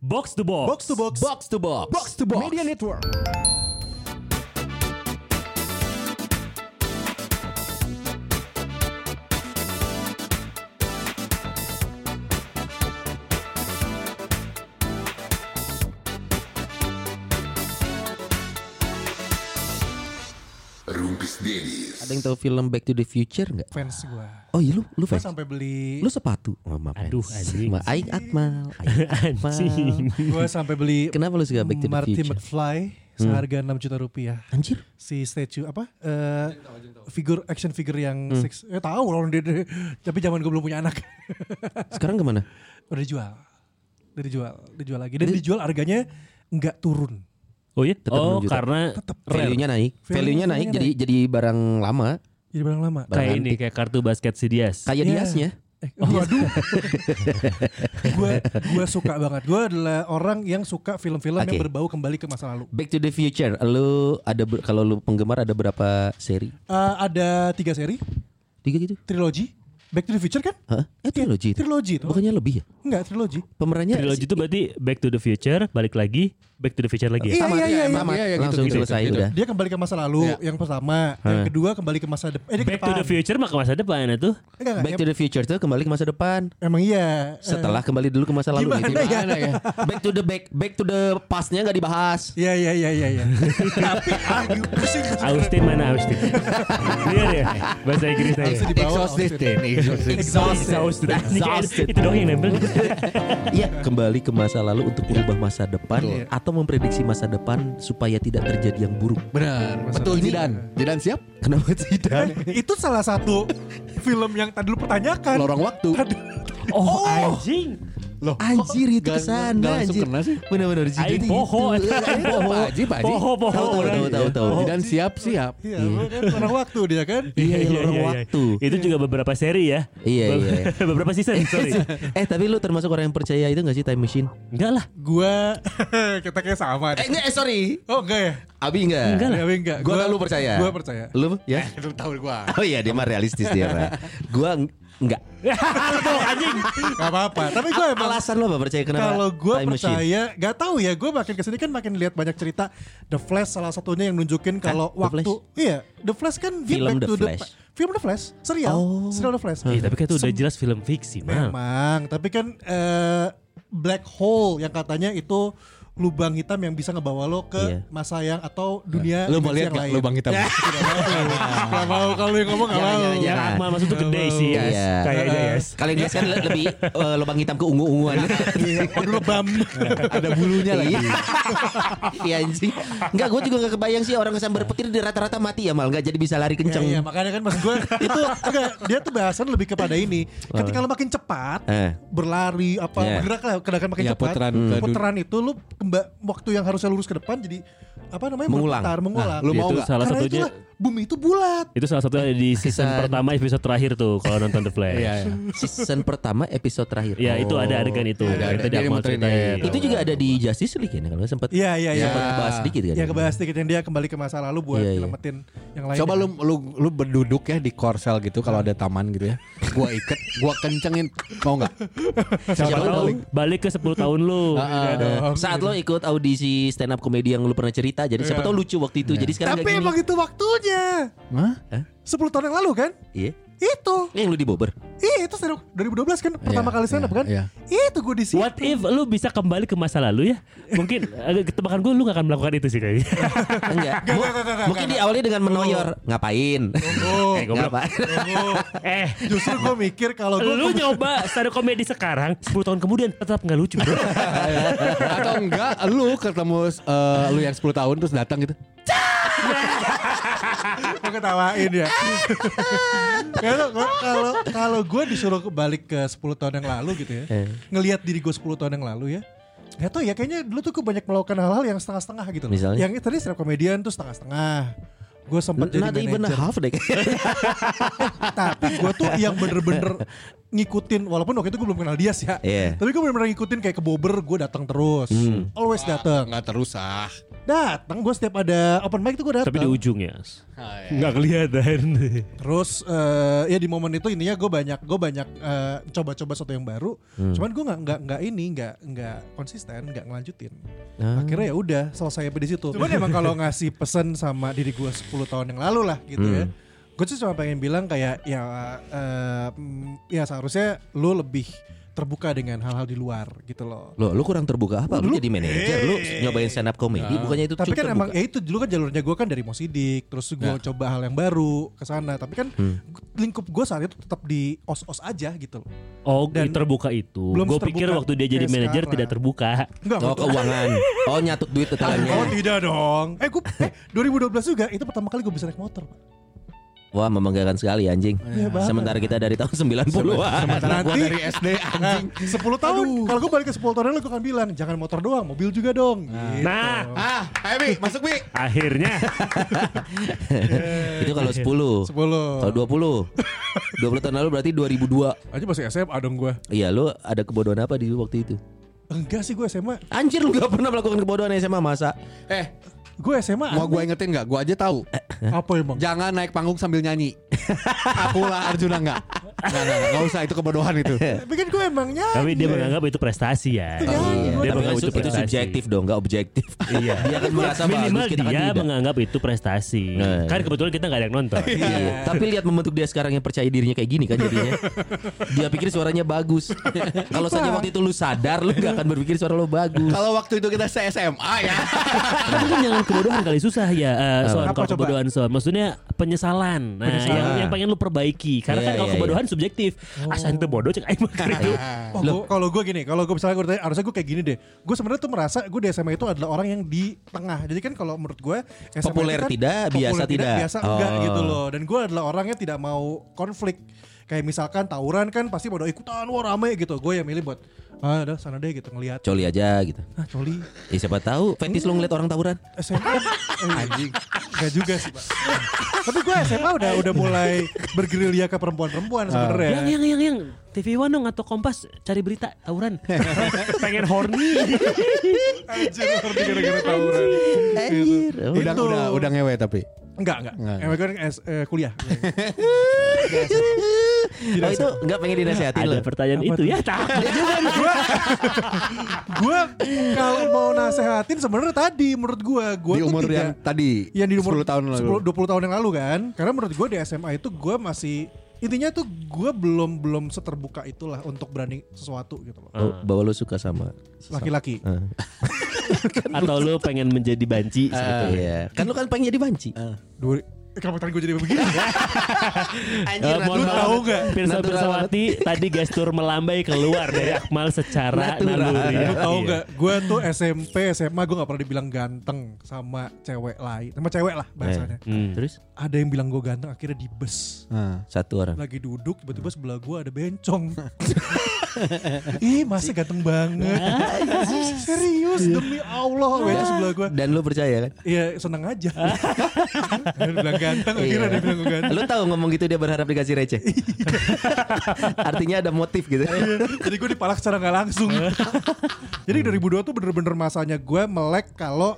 Box to box. Box to box. Box to box. Box to box. Media Network. Rumpis Dennis. Ada yang tahu film Back to the Future nggak? Fans gua. Oh iya lu lu Gua fans. sampai beli Lu sepatu. Oh, maaf, Aduh, fans. anjing. Ma- Aing Atmal. Aing Atmal. Anjing. gua sampai beli Kenapa lu suka Back to the Marty Future? Hmm. McFly seharga 6 juta rupiah. Anjir. Si statue apa? Eh figur action figure yang Hmm. six. Eh tahu orang dia, dia- tapi zaman gua belum punya anak. Sekarang kemana? Udah dijual. Udah dijual, dijual lagi. Dan dijual harganya nggak turun. Oh iya? Tetap oh enam juta. karena rare. Value-nya naik. Value-nya Value-nya naik naik. jadi jadi barang lama. Jadi barang lama. Barang kayak ini antik. kayak kartu basket Sidious. Kayak Iya. diasnya. Eh, waduh. gue gue suka banget. Gue adalah orang yang suka film-film yang Oke. berbau kembali ke masa lalu. Back to the Future. Lu ada ber- kalau lu penggemar ada berapa seri? Eh, ada tiga seri, Tiga gitu. trilogi. Back to the Future kan? Hah? Eh trilogi. itu. Trilogi itu. Bukannya lebih ya? Enggak, trilogi. Pemerannya Trilogi itu berarti Back to the Future, balik lagi Back to the Future lagi ya. Iya, Tamat, iya, iya, iya. tamat. Iya, iya, gitu, langsung gitu, selesai gitu. udah. Iya. Dia kembali ke masa lalu yang pertama, yang kedua kembali ke masa depan. Eh, dia ke Back to depan. the Future mah ke masa depan ya itu. Enggak, enggak, iya. Back to em- the Future tuh kembali ke masa depan. Emang iya. Eh, Setelah kembali dulu ke masa lalu gimana gitu. ya? Gimana ya? Back to the back, back to the pastnya nggak dibahas. Iya, iya, iya, iya, iya. Tapi ah, gue pusing. Austin mana Austin? Lihat ya bahasa Inggrisnya. ya? di bawah, Exhausted. Exhausted. Exhausted. Exhausted. Nah, Nah, Ini kayak- Exhausted. Itu dong yang nempel. Iya, kembali ke masa lalu untuk Iya. merubah masa depan Betul. atau memprediksi masa depan supaya tidak terjadi yang buruk. Benar. Betul Jidan. Jidan siap? Kenapa tidak? Itu salah satu film yang tadi lu pertanyakan. Lorong waktu. Oh anjing. Loh, kok Kan Anjir itu nggak- nggak kesana langsung anjir. kena sih. Benar-benar jadi Aing itu. poho. Aing poho. Pak Haji, Pak Haji. Poho, poho. Tahu, tahu, tahu, tahu, tahu. Jidan siap siap. Iya, kan orang waktu dia kan. Hmm. Iya, iya, lorong waktu. Itu juga beberapa seri ya. Iya, Be- iya. beberapa season, sorry. Iya. Eh tapi lu termasuk orang yang percaya itu gak sih time machine? Enggak lah. Gua kita kayak sama. Eh deh. enggak, eh sorry. Oh enggak ya? Abi enggak. Ya, tapi enggak. Gua tahu lu percaya. Gua percaya. Eh, Lu ya? Lu tahu gua. Oh iya dia mah realistis dia mah. Gua eng- enggak. Tuh, anjing. Gak apa-apa. Tapi gua emang Alasan lu apa percaya kenapa? kalau gue time machine? percaya, gak tahu ya. Gue makin kesini kan makin lihat banyak cerita. The Flash salah satunya yang nunjukin kalau Kan? The waktu, iya, The Flash kan dia Film back The to Flash. film The Flash, serial, Oh. serial The Flash. Eh, tapi kan itu udah jelas film fiksi, Mam. Nah. Memang, tapi kan eh, black hole yang katanya itu lubang hitam yang bisa ngebawa lo ke Iya. masa yang atau dunia Lu mau dimensi lihat yang nggak lain. lubang hitam? Tidak mau. Gak mau kalau yang ngomong gak mau. Jangan, jangan, Akmal maksud tuh gede sih, Yas. Iya. Kayaknya, Yas. Kalau yang jelas kan le- lebih eh, lubang hitam ke ungu-unguan. Iya. Waduh lebam. Ada bulunya Iya. lagi. Iya anjing. Enggak, gue juga gak kebayang sih orang kesambar petir dia rata-rata mati ya mal. Gak jadi bisa lari Ya, kenceng. iya, makanya kan maksud gue itu enggak, dia tuh bahasan lebih kepada ini. Ketika lo makin cepat, Eh. berlari apa Iya. bergerak lah, kadang makin Iya, cepat. putaran Hmm. ke dun- putaran itu lo kemba- waktu yang harusnya lurus ke depan jadi apa namanya Mengulang. berputar, mengulang. Lu Itu mau nggak? salah Karena satunya itulah bumi itu bulat. itu salah satu di season Kesan. pertama episode terakhir tuh kalau nonton The Flash. Iya, iya. Season pertama episode terakhir. Ya itu Oh. ada adegan itu. Ada, itu ada. dia Dia mau muterin ceritain. itu. Itu juga ada di Justice League ya kalau sempat Iya iya iya. sempat bahas sedikit kan. Ya kebahas sedikit yang dia kembali ke masa lalu buat Iya, iya. nyelamatin yang lain. ya. Coba lu lu lu berduduk ya di korsel gitu kalau ada taman gitu ya. Gua iket, gua kencengin mau nggak? Siapa tahu balik. balik ke 10 tahun lu. Ah, Iya Saat lo ikut audisi stand up komedi yang lo pernah cerita, jadi Iya. siapa tau lucu waktu itu. Jadi sekarang Tapi kayak emang gini. itu waktunya. Hah? 10 tahun yang lalu kan? Iya. Itu. Ini yang lu dibober. Iya itu stand up 2012 kan pertama Iya, kali stand up iya, kan? iya. Itu gue di situ. What if lu bisa kembali ke masa lalu ya? Mungkin eh, ketebakan gue lu gak akan melakukan itu sih kayaknya. Enggak. Mu- enggak, enggak, Mungkin diawali dengan menoyor. Ngapain? Oh, Eh, Ngapain? oh. eh, Justru gue mikir kalau gue lu nyoba stand up komedi sekarang 10 tahun kemudian tetap nggak lucu bro. Atau enggak lu ketemu eh, lu yang 10 tahun terus datang gitu. gue ketawain ya. Kalau gua- kalau kalau gue disuruh balik ke 10 tahun yang lalu gitu ya, ngelihat diri gue 10 tahun yang lalu ya. Gak tau ya kayaknya dulu tuh gue banyak melakukan hal-hal yang setengah-setengah gitu loh. Misalnya? Yang tadi stand up comedian tuh setengah-setengah Gue sempat jadi Not even a manajer half deh. Tapi gue tuh yang bener-bener ngikutin Walaupun waktu itu gue belum kenal dia sih ya Iya. Tapi gue bener-bener ngikutin kayak ke Bobber gue datang terus Always datang Enggak terus ah. Datang gue setiap ada open mic itu gue datang. Tapi di ujung ya. Nggak kelihatan. Terus eh, ya di momen itu intinya gue banyak gue banyak eh, coba-coba sesuatu yang baru. Hmm. Cuman gue nggak nggak nggak ini nggak nggak konsisten nggak ngelanjutin. Ah. Akhirnya ya udah selesai sampai di situ. Cuman emang kalau ngasih pesan sama diri gue 10 tahun yang lalu lah gitu Hmm. ya. Gue sih cuma pengen bilang kayak ya eh, mm, ya seharusnya lu lebih terbuka dengan hal-hal di luar gitu loh. Loh, lu kurang terbuka apa? Lu, jadi manajer, lu nyobain stand up comedy, bukannya Eh. itu tapi cukup kan terbuka. emang ya itu dulu kan jalurnya gue kan dari Mosidik terus gue coba hal yang baru ke sana tapi kan lingkup gue saat itu tetap di os os aja gitu loh Oh, Dan terbuka itu. belum Gue pikir terbuka waktu dia jadi kayak manajer sekarang. tidak terbuka. enggak Oh, waktu- keuangan. Oh, nyatut duit oh tetangganya. tidak dong eh gue eh 2012 juga itu pertama kali gue bisa naik motor Pak. Wah, membanggakan sekali anjing. Iya, banget. Sementara kita dari tahun 90-an. Sementara gua Nanti- dari SD nah, anjing. 10 tahun kalau gue balik ke 10 tahun lalu gue akan bilang jangan motor doang mobil juga dong gitu. Nah, Ah, ayo Bi, masuk Bi. akhirnya Iya. itu kalau 10. 10 Kalau 20. 20 tahun lalu berarti 2002. aja masih SMA dong gue Iya, lu ada kebodohan apa di waktu itu? enggak sih gue SMA Anjir lu gak pernah melakukan kebodohan SMA masa? Eh, gue SMA mau gue ingetin nggak? Gue aja tahu. apa emang Jangan naik panggung sambil nyanyi. Aku lah Arjuna nggak. Nggak, nggak, nggak. Nggak usah itu kebodohan itu. tapi kan gue emangnya tapi dia menganggap itu prestasi ya. Iya, Iya, Dia tapi kan menganggap itu, itu itu prestasi. subjektif dong, gak objektif. Iya. Dia kan merasa Minimal bagus, kita kan dia tidak. menganggap itu prestasi. Nah, Kan kebetulan kita nggak ada yang nonton. Iya. Tapi lihat membentuk dia sekarang yang percaya dirinya kayak gini kan jadinya. Dia pikir suaranya bagus. Kalau saja waktu itu lu sadar, lu gak akan berpikir suara lu bagus. Kalau waktu itu kita se SMA ya. Tapi kan jangan kebodohan kali susah ya eh, soal Apa kalau coba? kebodohan soal maksudnya penyesalan. Nah, Penyesalan. yang yang pengen lu perbaiki karena Iya, kan kalau iya, Oh. kebodohan subjektif. Asal itu bodoh cek aing mah itu. Oh, gua- kalau gue gini, kalau gue misalnya gue tanya, harusnya gue kayak gini deh. Gue sebenarnya tuh merasa gue di SMA itu adalah orang yang di tengah. Jadi kan kalau menurut gue SMA itu Populer kan tidak, populer biasa tidak. biasa enggak Oh. gitu loh. Dan gue adalah orangnya tidak mau konflik. Kayak misalkan tawuran kan pasti pada ikutan, wah rame gitu. Gue yang milih buat ah udah sana deh gitu ngelihat. Coli aja gitu. Ah coli Ya siapa tahu fetis lu ngeliat orang tawuran. SMA anjing. Enggak juga sih, Pak. Tapi gue SMA udah udah mulai bergerilya ke Ah. perempuan-perempuan Iya. sebenarnya. Yang yang yang yang TV One dong atau Kompas cari berita tawuran. Pengen horny. Anjir, ngerti gara-gara tawuran. Anjir. Udah Itu. udah udah ngewe tapi. Enggak, enggak. Enggak. Emang gue kan S- eh, kuliah. Oh itu gak pengen dinasehatin lu. ada pertanyaan itu ya. tahu. gue kalau mau nasehatin sebenarnya tadi menurut gue gue Di tuh umur tidak yang tadi. yang di umur 10 tahun lalu. 10 20 tahun yang lalu kan karena menurut gue di SMA itu gue masih intinya tuh gue belum belum seterbuka itulah untuk berani sesuatu gitu loh Oh, bahwa lu suka sama laki-laki Eh. atau lu pengen menjadi banci Gitu, sebetulnya. Iya. Kan lu kan pengen jadi banci. dua eh, kenapa tadi gue jadi begini Eh, Anjir, mohon lu maaf, tahu nggak? Pirsa Natural Pirsawati tadi gestur melambai keluar dari Akmal secara Natural. naluri. lu tahu Iya. nggak gue tuh SMP SMA gue nggak pernah dibilang ganteng sama cewek lain sama cewek lah bahasanya Eh. Hmm. Terus ada yang bilang gue ganteng akhirnya di bus Ah. satu orang. lagi duduk tiba-tiba sebelah gua ada bencong ih masa ganteng banget serius demi Allah bencong sebelah gua Dan lu percaya kan? Iya seneng aja Dia bilang ganteng Akhirnya Iya. dia bilang gua ganteng Lu tahu ngomong gitu dia berharap dikasih receh. Artinya ada motif gitu. Iya, Jadi gue dipalak secara gak langsung Jadi 2002 tuh bener-bener masanya gue melek kalau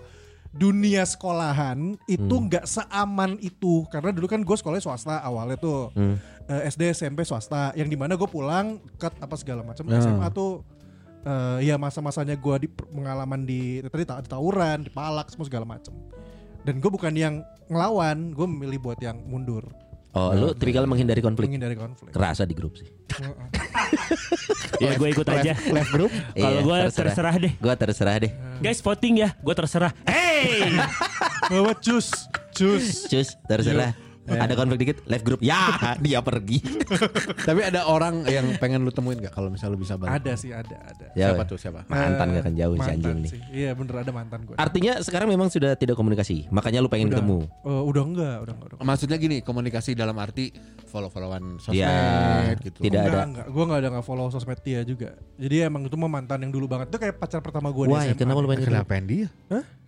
dunia sekolahan itu nggak seaman itu karena dulu kan gue sekolahnya swasta awalnya tuh Eh, SD SMP swasta yang dimana gue pulang ket apa segala macam SMA tuh eh, ya masa-masanya gue di pengalaman di tadi ta- tawuran di palak semua segala macam dan gue bukan yang ngelawan gue memilih buat yang mundur Oh, lu tipikal menghindari konflik. menghindari konflik Kerasa di grup sih. Ya gue ikut aja. Left group. Kalau Iya, gue terserah deh. Gua terserah deh. Hmm. Guys voting ya, gue terserah. Hey, bahwa cus cus Cus, terserah. Ada konflik dikit, live group. Ya, dia pergi. Tapi ada orang yang pengen lu temuin nggak kalau misalnya lu bisa balik? ada sih ada ada Ya, Siapa weh. tuh siapa? Mantan gak akan jauh si Mantan anjing nih. sih. Iya bener ada mantan gue. Artinya sekarang memang sudah tidak komunikasi. Makanya lu pengen ketemu. Eh, udah enggak, udah enggak, udah enggak. Maksudnya gini, komunikasi dalam arti follow-followan sosmed Ya, gitu. Enggak, tidak ada. enggak. Gue enggak ada enggak follow sosmed dia juga. Jadi emang itu mah mantan yang dulu banget. Itu kayak pacar pertama gue di SMA. Why? Iya, Kenapa lu pengen ketemu? Eh, Kenapa pengen dia?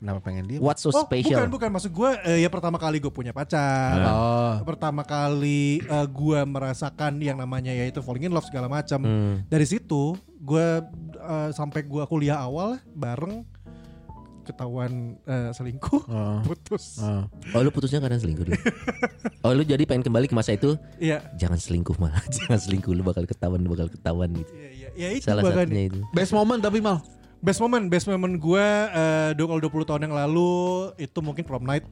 Kenapa pengen dia? What's so oh, bukan, special? bukan. Maksud gue eh, ya pertama kali gue punya pacar. Ah. Oh. Pertama kali eh, gue merasakan yang namanya yaitu falling in love segala macam. Hmm. Dari situ gue eh, sampai gue kuliah awal lah, bareng ketahuan eh, selingkuh Heeh. putus. Heeh. Oh lu putusnya karena selingkuh dulu. Oh lu jadi pengen kembali ke masa itu Iya. Jangan selingkuh malah Jangan selingkuh Lu bakal ketahuan Lu bakal ketahuan gitu Iya, iya, ya itu Salah bahkan. satunya itu Best moment tapi mal. Best moment, best moment gue dua kalau 20 tahun yang lalu itu mungkin prom night.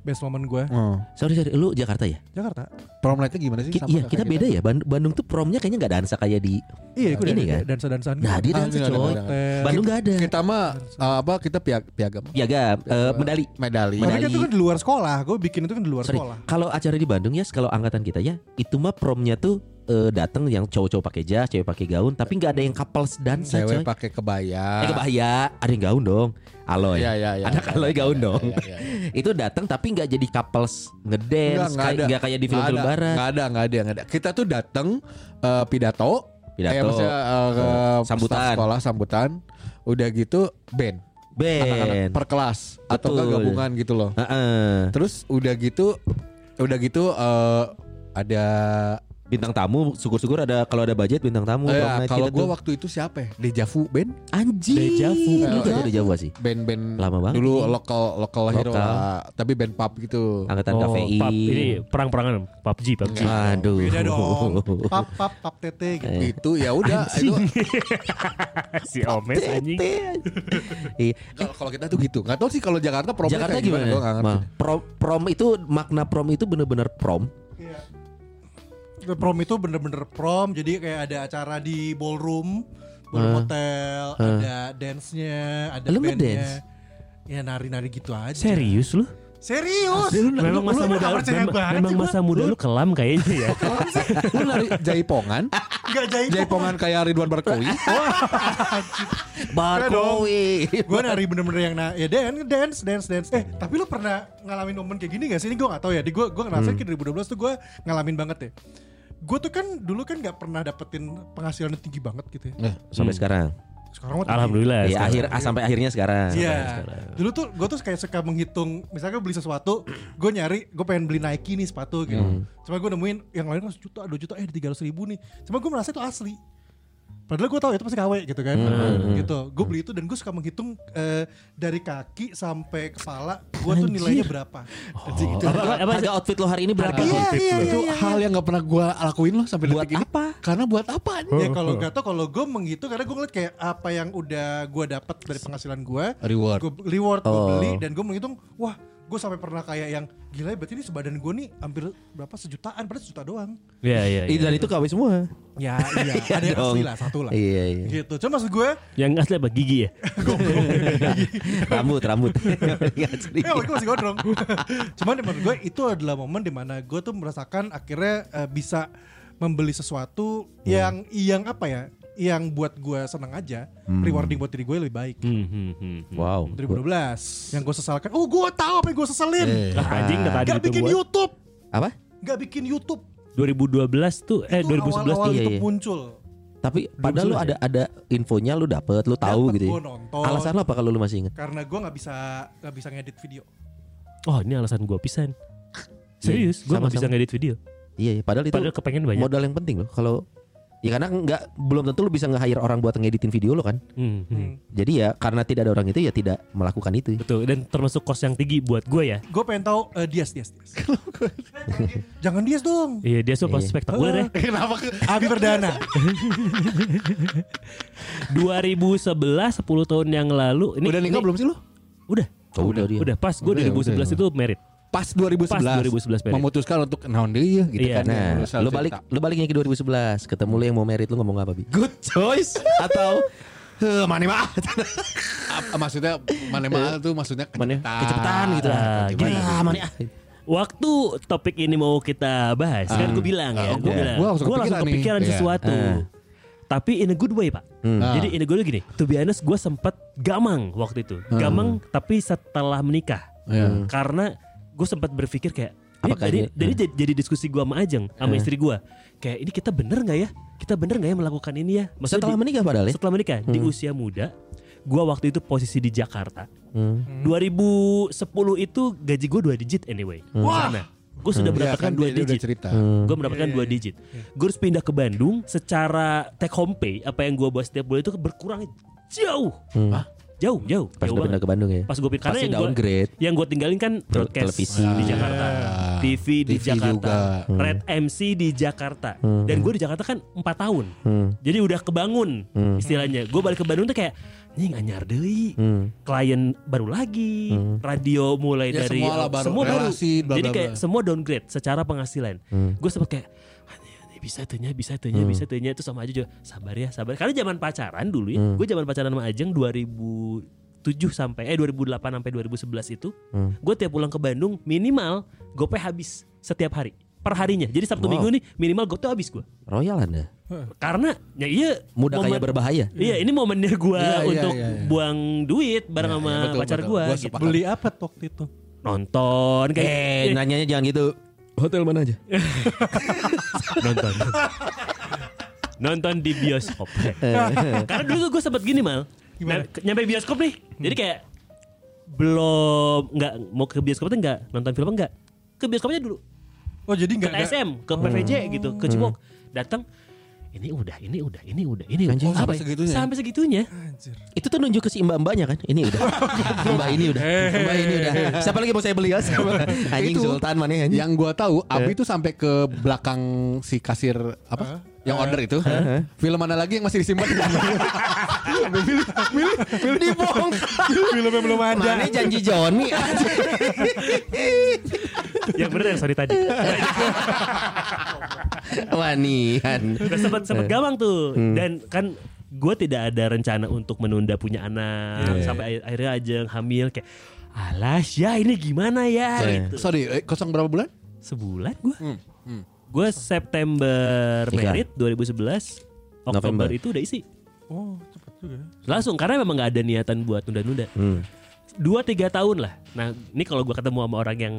Best moment gue Sorry sorry Lu Jakarta ya? Jakarta. Prom night-nya gimana sih? Ki- Sama iya kayak gitu. kita beda ya Band- Bandung tuh promnya kayaknya gak dansa kayak di Iya, gue Ini kan? dansa dansan. Nah dia dansa nggak ada, coy nggak ada. Bandung gak ada Eh, Kita mah eh, apa kita piag piagam. Piagam eh, Medali Medali. Tapi kan medali. itu kan di luar sekolah, gue bikin itu kan di luar Sorry sekolah. Kalau acara di Bandung ya Kalau angkatan kita ya Itu mah promnya tuh eh, datang yang cowok-cowok pakai jas, cewek pakai gaun, tapi nggak ada yang couples dansa coy. Cewek pakai kebaya. Eh kebaya, ada yang gaun dong. Aloy. Iya, iya, iya. Anak Aloy gaun Iya, dong. iya, iya, Itu datang tapi nggak jadi couples ngedance, nggak kayak- ada. nggak kayak di film-film Nggak ada, barat. Nggak ada, nggak ada, nggak ada. Kita tuh dateng eh, pidato, Pidato. Eh, maksudnya, eh, ke Eh, staff sambutan. sekolah sambutan. Udah gitu band, Anak-anak Ben. per kelas Betul. atau nggak gabungan gitu loh. Heeh. Terus udah gitu, udah gitu eh, ada Bintang tamu, syukur-syukur ada kalau ada budget bintang tamu. eh, prom night kalau kita gue tuh. waktu itu siapa? ya? Deja Vu band, anjing. Deja vu. Iya. Lu juga Deja vu sih. band-band Lama banget dulu ini. lokal lokal hero Lokal. lah, tapi band pub gitu. Angkatan KPI. pub, Eh, oh, ini perang-perangan PUBG, PUBG. Aduh. Beda dong. Pap pap pap tete gitu. Eh. Itu ya udah itu si Omes anjing. Iya. kalau kalau kita tuh gitu. Nggak tahu sih kalau Jakarta promnya Jakarta kayak gimana? Gua nggak ngerti. Mal? Prom, prom itu makna prom itu bener-bener prom. Iya. Prom itu bener-bener prom, jadi kayak ada acara di ballroom, ballroom hotel, ada dance-nya, ada Eh. Lu band-nya. ngedance? Ya nari-nari gitu aja. Serius lu? Serius? Memang masa muda nggak lu, percaya memang, banget memang sih gua. masa muda lu kelam kayaknya ya. Lu nari jaipongan, Gak jahit jaipongan kayak Ridwan Barkowi. Barkowi. Gue nari bener-bener yang na ya dan- dance, dance, dance. Eh tapi lu pernah ngalamin momen kayak gini gak sih? Ini gue gak tau ya. Di gue gue ngerasain ke 2012 tuh gue ngalamin banget ya. Gue tuh kan dulu kan gak pernah dapetin penghasilan yang tinggi banget gitu ya. Sampai sekarang. Sekarang mah tinggi. Alhamdulillah. Ya, akhir ah, sampai akhirnya sekarang. Iya. Sampai sekarang. Dulu tuh gue tuh kayak suka menghitung, misalnya gue beli sesuatu, gue nyari, gue pengen beli Nike nih sepatu gitu. Cuma gue nemuin yang lain kan juta, dua juta, eh tiga ratus ribu nih. Cuma gue merasa itu asli. Padahal gue tahu itu pasti KW gitu kan, gitu. Gue beli itu dan gue suka menghitung eh, dari kaki sampai kepala, gue tuh nilainya berapa. Anjing, itu. Apa- apa- harga outfit lo hari ini berapa? Oh. Iya, Positif iya, lu. iya, Itu iya. hal yang nggak pernah gua lakuin loh sampai Buat detik ini. apa? Karena buat apa? Ya kalau gak tau kalau gue menghitung karena gue ngeliat kayak apa yang udah gue dapat dari penghasilan gue Reward. gue reward gue Oh. beli dan gue menghitung wah gue sampai pernah kayak yang gila ya, berarti ini sebadan gue nih hampir berapa sejutaan padahal sejuta doang Iya, iya. Ih, iya. Dan itu KW semua. ya iya ada yang dong. asli lah satu lah Iya, iya. gitu cuma maksud gue Yang asli apa gigi ya? rambut, rambut. Iya. Ya, gue masih gondrong. Cuman menurut gue itu adalah momen dimana gue tuh merasakan akhirnya eh, bisa membeli sesuatu Hmm. yang yang apa ya, yang buat gue seneng aja, Hmm. rewarding buat diri gue lebih baik. Hmm, hmm, hmm. wow. 2012 yang gue sesalkan, oh gue tahu apa yang gue seselin, Eh, Ah, anjing dah tadi gak itu bikin gua. YouTube, Apa? gak bikin YouTube. 2012 tuh eh Itu 2011 awal-awal iya, YouTube iya. muncul. Tapi padahal lu sudah ada ada infonya lu dapet, lu tahu Dapet, Oh. gitu. ya. gua nonton. Alasan lu apa kalau lu masih inget? Karena gue nggak bisa nggak bisa ngedit video. Oh, ini alasan gua pisan. Serius, Iya, gua nggak bisa sama-sama. ngedit video. Iya, iya, padahal itu Padahal kepengen banyak. modal yang penting loh kalau Ya karena nggak belum tentu lu bisa nge-hire orang buat ngeditin video lo kan. Hmm, hmm. Jadi ya karena tidak ada orang itu ya tidak melakukan itu. Betul, dan termasuk kos yang tinggi buat gua ya. Gue pengen tahu eh, Dias Dias Dias. Jangan Dias dong. Iya, dia tuh pas Iya. spektakuler ya. Kenapa? Abi Perdana. 2011 10 tahun yang lalu ini Udah nikah ini- belum sih lu? Udah. Oh, udah dia. Udah pas gue Udah ya, 2011 udah ya. itu merit. Pas 2011. Pas 2011 Merit. Memutuskan untuk naon deui gitu Iya, kan. Nah, Urusan lu balik cinta. lu baliknya ke 2011, ketemu lu yang mau merit lu ngomong apa, Bi? Good choice atau "Heh, mana mah? Ap- maksudnya mana mahal tuh maksudnya Mana? kecepetan. Kecepatan gitu lah. Ah, gini. Ah, mana ah. Waktu topik ini mau kita bahas kan gue bilang ya, gue gua- bilang, Ah. iya. gua langsung gue langsung kepikiran nih. kepikiran Iya. sesuatu. Tapi in a good way pak. Ah. Jadi in a good way gini, to be honest gue sempat gamang waktu itu, gamang tapi setelah menikah, Ah. Iya. Ah. karena gue sempat berpikir kayak, ini Apakah jadi, ini- jadi jadi- jadi diskusi gue sama Ajeng, sama istri gue, kayak ini kita bener nggak ya, kita bener nggak ya melakukan ini ya? Maksudnya Setelah di- menikah padahal ya. setelah menikah di usia muda gua waktu itu posisi di Jakarta Hmm. 2010 itu gaji gua dua digit anyway Hmm. Wah. Karena gua sudah Iya, mendapatkan kan dua dia- dia udah digit cerita. Iya, Gua mendapatkan dua digit Gua harus pindah ke Bandung secara take home pay apa yang gua bawa setiap bulan itu berkurang jauh Hmm. Hah? Jauh, jauh. Pas jauh udah pindah banget. ke Bandung ya. Pas gue pindah karena Pasti yang gua- downgrade. yang gue tinggalin kan broadcast televisi. di Jakarta, TV di TV Jakarta, juga. Red MC di Jakarta, dan gue di Jakarta kan 4 tahun, jadi udah kebangun istilahnya. Gue balik ke Bandung tuh kayak nying anyar deui, klien baru lagi, radio mulai Ya, dari semua lah baru, semua baru, relasi, bla, jadi bla, kayak bla. semua downgrade secara penghasilan. Hmm. Gue sempet kayak "Anjing, anjing, bisa tanya bisa tanya bisa tanya itu sama aja juga sabar ya sabar karena zaman pacaran dulu ya Hmm. gue zaman pacaran sama Ajeng 2007 sampai eh 2008 sampai 2011 itu Hmm. gue tiap pulang ke Bandung minimal gope habis setiap hari per harinya jadi sabtu Wow. minggu nih minimal gope habis gue Royal Anda. karena ya iya Mudah kaya momen- berbahaya. Iya ini momennya gue Iya, iya, untuk iya, iya. buang duit bareng sama betul, pacar betul. gue Gua gitu. sepakat. Beli apa tuh waktu itu? nonton kayak iya, Eh, nanyanya jangan gitu. Hotel mana aja? nonton nonton di bioskop Eh, karena dulu tuh gue sempet gini mal Gimana? Hmm. Nah, ke- nyampe bioskop nih jadi kayak belum nggak mau ke bioskop tuh nggak nonton film nggak ke bioskopnya dulu Oh jadi ke nggak nggak- TSM ke PVJ gitu ke Cibok datang ini udah ini udah ini udah ini udah. Anjing, sampai ya? segitunya? sampai segitunya Anjir. Itu tuh nunjuk ke si mbak-mbaknya kan. Ini udah. mbak ini udah. Mbak ini udah. Siapa lagi mau saya beli ya? Siapa? Anjing Itu. Sultan mana anjing? Yang gua tahu Abi tuh sampai ke belakang si kasir apa? Yang order itu. Film mana lagi yang masih disimpan? dibongkar. Filmnya belum ada. Mana janji Joni? yang Ya, bener yang sorry tadi Wanian. Udah sempet sempet Eh. gawang tuh Hmm. dan kan gue tidak ada rencana untuk menunda punya anak Iya. sampai akhir- akhirnya aja hamil kayak alas ya ini gimana ya Eh. gitu Sorry, eh, kosong berapa bulan? sebulan gue gue September Nikah. merit 2011 Oktober November. itu udah isi Oh cepet juga. ya. langsung karena memang nggak ada niatan buat nunda-nunda dua tiga tahun lah nah ini kalau gue ketemu sama orang yang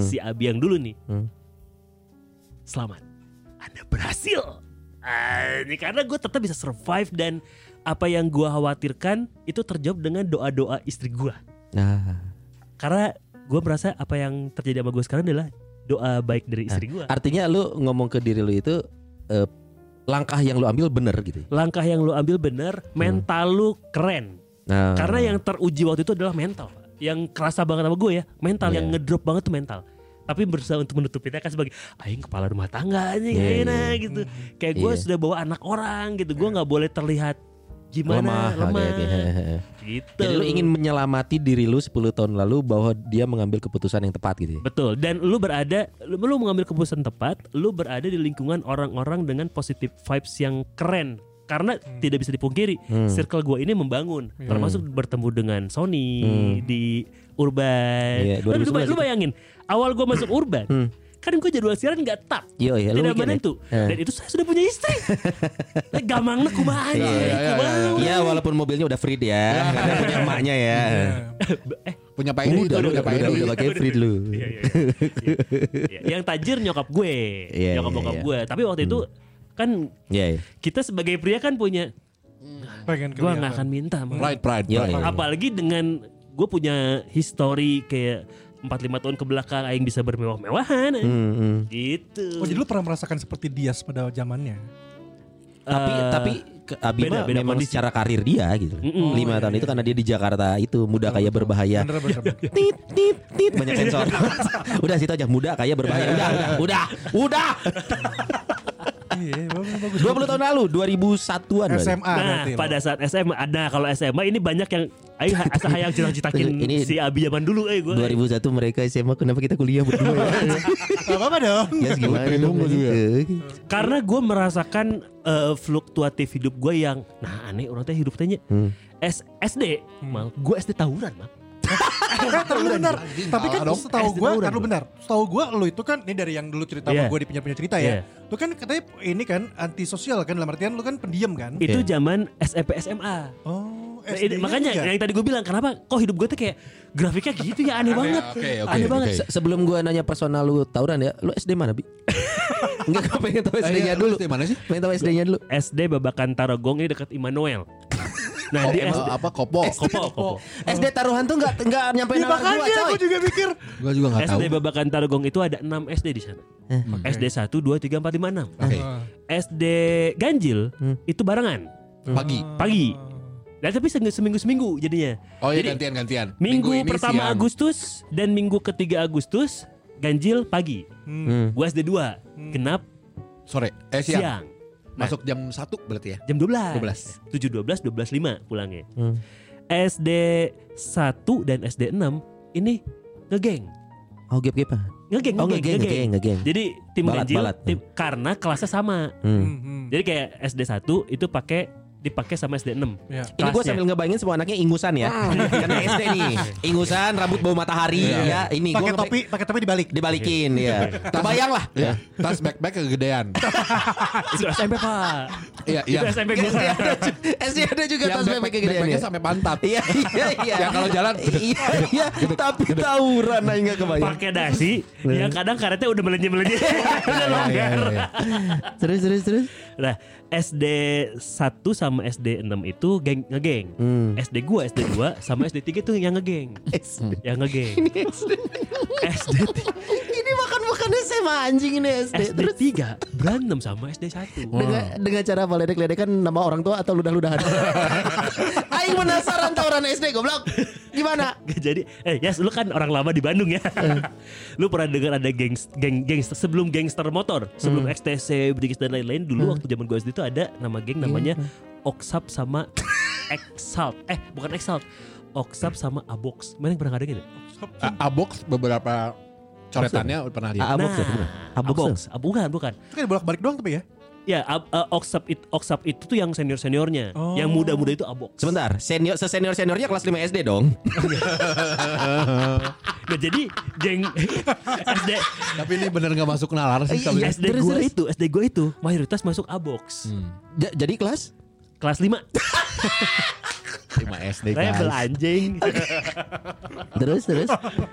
si Abi yang dulu nih selamat anda berhasil Ah, ini karena gue tetap bisa survive dan apa yang gue khawatirkan itu terjawab dengan doa-doa istri gue Nah, karena gue merasa apa yang terjadi sama gue sekarang adalah doa baik dari Ah. istri gue artinya lu ngomong ke diri lu itu eh, langkah yang lu ambil bener gitu. langkah yang lo ambil bener mental lu keren Nah, Karena yang teruji waktu itu adalah mental. Pak. Yang kerasa banget sama gue ya, mental yang Iya. ngedrop banget tuh mental. Tapi berusaha untuk menutupinya kan sebagai aing kepala rumah tangga aja Iya, kayak iya. enak," gitu. Kayak gue Iya. sudah bawa anak orang gitu. Gue nggak boleh terlihat gimana Lemah, lemah, oke, oke, he, he. gitu. Jadi lu ingin menyelamati diri lu 10 tahun lalu bahwa dia mengambil keputusan yang tepat gitu. ya? Betul. Dan lu berada lu, lu mengambil keputusan tepat, lu berada di lingkungan orang-orang dengan positive vibes yang keren. Karena tidak bisa dipungkiri, Hmm. circle gua ini membangun, termasuk bertemu dengan Sony di Urban. Hmm. Iya, Lu- lu, 2011 lu bayangin, awal gua masuk Urban, kan gue jadwal siaran nggak tetap, Yo, Hmm. iya, tidak lu mikir ya? menentu. Eh. Dan itu saya sudah punya istri. nah, gampangnya kumaha aja, iya, iya, kumaha. iya. Iya, walaupun mobilnya udah free Iya. ya, karena punya emaknya ya. Punya Pak Edi, Udah, itu, udah, udah, Pak udah, Edi. udah pakai free dulu. Iya, iya, iya. Iya. Yang tajir nyokap gue, Iya, nyokap iya, bokap iya. gue. Tapi waktu itu kan Iya, iya. kita sebagai pria kan punya Pengen gue kelihatan. nggak akan minta Mang. Pride, pride, Iya, pride. iya. apalagi dengan gue punya history kayak 4-5 tahun ke belakang aing bisa bermewah-mewahan Hmm, hmm. gitu Oh jadi lu pernah merasakan seperti Dias pada zamannya? tapi Eh, tapi ke- Abi beda- mah beda memang kondisi. secara karir dia gitu. Mm-mm. Oh, iya, Lima tahun itu karena dia di Jakarta itu muda kaya berbahaya. Bener bener. bener. Tit tit tit Iya. banyak sensor. udah situ aja muda kaya berbahaya. Udah udah udah. Iya bagus bagus. udah. 20 tahun lalu 2001-an. berarti. SMA nah Ah, berarti. lo. pada saat SMA ada nah, kalau SMA ini banyak yang aing ha- asa hayang cita-citakin Ini- si Abi zaman dulu eh gue 2001 mereka SMA kenapa kita kuliah berdua ya? Gak apa-apa dong. Iya Ya gimana dong juga. eh. karena gue merasakan eh, fluktuatif hidup gue yang nah aneh orang teh hidup tanya S- SD mal gue SD tawuran mal Kan, tapi lu benar. Tapi kan Salah dong. setahu Eh, gue setahu kan lu dong. benar. Setahu gue lu itu kan ini dari yang dulu cerita Iya. sama gue di punya punya cerita ya. Lu kan katanya ini kan antisosial kan dalam artian lu kan pendiam kan. itu zaman E SMP SMA Eh, Oh, Iya. Nah, ini- SD-nya makanya juga. yang tadi gue bilang kenapa kok hidup gue tuh kayak grafiknya gitu ya aneh banget oke, oke, aneh banget oke. Se- Sebelum gua nanya personal lu tawuran ya, lu SD mana, Bi? Enggak gua pengen tahu SD-nya lu dulu. SD Iya, mana sih? Pengen tahu SD-nya dulu. SD Babakan Tarogong ini dekat Immanuel nah Oh, di eh, SD apa kopo? kopo, kopo. SD taruhan tuh enggak enggak nyampe Iya, nama makanya gua, aku coy. juga mikir. Gua juga enggak tahu. Eh. SD Babakan Tarogong itu ada 6 SD di sana Hmm. SD 1, 2, 3, 4, 5, 6 Oke. Hmm. SD Ganjil itu barengan Pagi. pagi Dan tapi seminggu seminggu seminggu jadinya. Oh iya Jadi, gantian gantian. Minggu, ini pertama siang. Agustus dan minggu ketiga Agustus ganjil pagi. Hmm. Gua SD 2. Genap sore eh siang. siang. Nah. Masuk jam 1 berarti ya. Eh, Jam 12. 7 12 12 5 pulangnya. Hmm. SD 1 dan SD 6 ini ngegeng. Oh gap gap Ngegeng, Oh ngegeng ngegeng ngegeng. Jadi tim Balat, ganjil balat. tim- karena kelasnya sama. Hmm. Jadi kayak SD 1 itu pakai dipakai sama SD 6. Ya. Ini gue Kelasnya. sambil ngebayangin semua anaknya ingusan ya Hmm. Karena SD nih Ingusan, rambut bau matahari ya Ini Iya, Pakai gue topi, pakai topi dibalik. Dibalikin ya Terbayang lah Ya, tas backpack kegedean. Itu SMP Pak. Iya, Itu iya. SMP Iya, gue. SD ada ju- SD ada juga Yang tas bebek backpack- kegedean backpacknya ya. sampai pantat. Iya iya iya. Yang kalau jalan, iya iya. Tapi tawuran aja nggak kebayang. Pakai dasi Iya. yang kadang karetnya udah melenje-melenje. Udah Iya, longgar. iya, iya. Terus terus terus. Nah, SD 1 sama SD 6 itu geng ngegeng. Hmm. SD gua, SD 2 sama SD 3 itu yang ngegeng. Yang ngegeng. SD Ini makan bukan SMA anjing ini SD. SD Terus Oh. 3 berantem sama SD 1. dengan dengan cara meledek-ledekan nama orang tua atau ludah-ludahan. Aing penasaran tawuran SD goblok. Gimana? Jadi, eh Yas, lu kan orang lama di Bandung ya. Eh. lu pernah dengar ada geng geng gangster sebelum gangster motor, sebelum Hmm. XTC, Brigis dan lain-lain dulu waktu zaman gua SD itu ada nama Iya, geng namanya Oksap sama Exalt. Eh, bukan Exalt. Oksap sama Abox. Mana yang pernah ada gitu? A- Abox beberapa coretannya pernah lihat. Iya. Abox Nah, ya, bener. Abox ya? Abox. Ah, bukan, bukan. Itu kan bolak-balik doang tapi ya. Ya, ab, eh, Oksap it, Oksap itu tuh yang senior-seniornya. Oh. Yang muda-muda itu Abox. Sebentar, senior senior seniornya kelas 5 SD dong. Nah, jadi geng SD Tapi ini bener gak masuk nalar sih. Iya, kalau gitu. iya. SD Terus, gua terus. Hmm. itu, SD gua itu mayoritas masuk Abox. Ja- jadi kelas? Kelas 5. 5 SD guys. Rebel anjing. Terus terus.